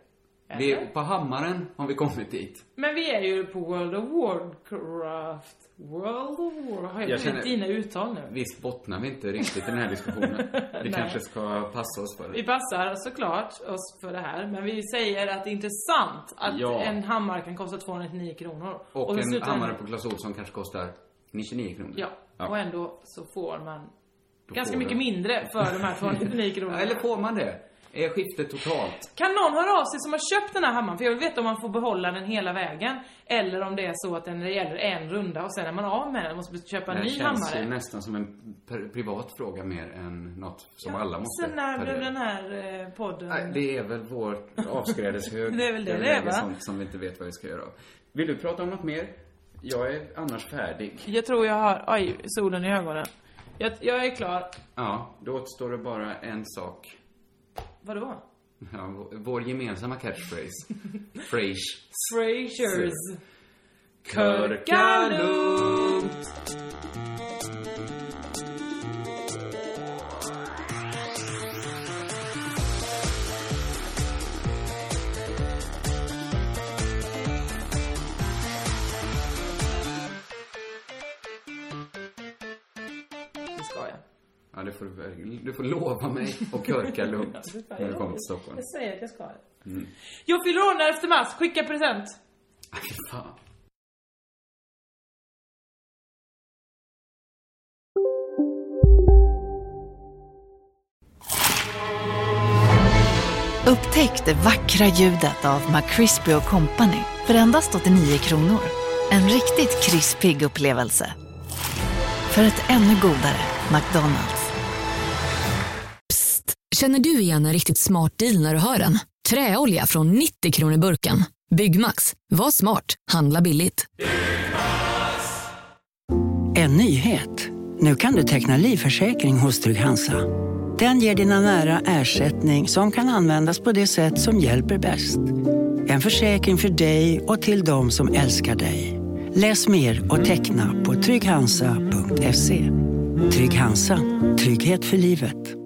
S2: Vi är, på Hammaren har vi kommit dit.
S3: Men vi är ju på World of Warcraft. World of Warcraft. Har
S2: Jag
S3: jag, jag
S2: känner-
S3: dina uttal nu?
S2: Visst bottnar vi inte riktigt i den här diskussionen. Vi
S3: Nej.
S2: kanske ska passa oss för det.
S3: Vi passar såklart oss för det här, men vi säger att det är intressant att
S2: Ja.
S3: en hammare kan kosta 299 kronor.
S2: Och,
S3: i
S2: en
S3: slutändan-
S2: hammare på Clas Ohlson kanske kostar 99 kronor.
S3: Ja,
S2: Ja.
S3: och ändå så får man
S2: Då
S3: ganska
S2: får
S3: mycket
S2: du.
S3: mindre för de här 299 kronorna.
S2: Eller får man det? Är skiftet totalt?
S3: Kan någon höra av sig som har köpt den här hammaren? För jag vill veta om man får behålla den hela vägen. Eller om det är så att den gäller en runda och sen är man av med den och måste köpa en
S2: det
S3: ny
S2: känns
S3: hammare.
S2: ju nästan som en per- privat fråga mer än något som
S3: Ja,
S2: alla måste
S3: Sen när
S2: ta
S3: blev
S2: del av.
S3: den här eh, podden...
S2: Nej, det är väl vår avskrädeshög.
S3: Det är väl det
S2: där vi
S3: det är,
S2: lägger
S3: va?
S2: sånt som vi inte vet vad vi ska göra av. Vill du prata om något mer? Jag är annars färdig.
S3: Jag tror jag har... Oj, solen i ögonen. Jag, jag är klar.
S2: Ja, då återstår det bara en sak.
S3: Vadå?
S2: Ja, vår- vår gemensamma catchphrase. Frage.
S3: Frasers.
S2: Körka lugnt.
S3: Det ska jag.
S2: Ja, du får, du får lova mig att körka lugnt
S3: Ja, det får jag.
S2: när du kommer till Stockholm.
S3: Jag säger att jag ska.
S2: Mm.
S3: Jag fyller år den 11 mars. Skicka present.
S2: Fan.
S9: Upptäck det vackra ljudet av McCrispy Company för endast 89 kronor. En riktigt krispig upplevelse. För ett ännu godare McDonalds.
S10: Känner du igen en riktigt smart deal när du hör den? Träolja från 90 kronor burken. Byggmax, var smart, handla billigt.
S5: En nyhet. Nu kan du teckna livförsäkring hos Trygg-Hansa. Den ger dina nära ersättning som kan användas på det sätt som hjälper bäst. En försäkring för dig och till de som älskar dig. Läs mer och teckna på trygghansa.se. Trygg Hansa. Trygghet för livet.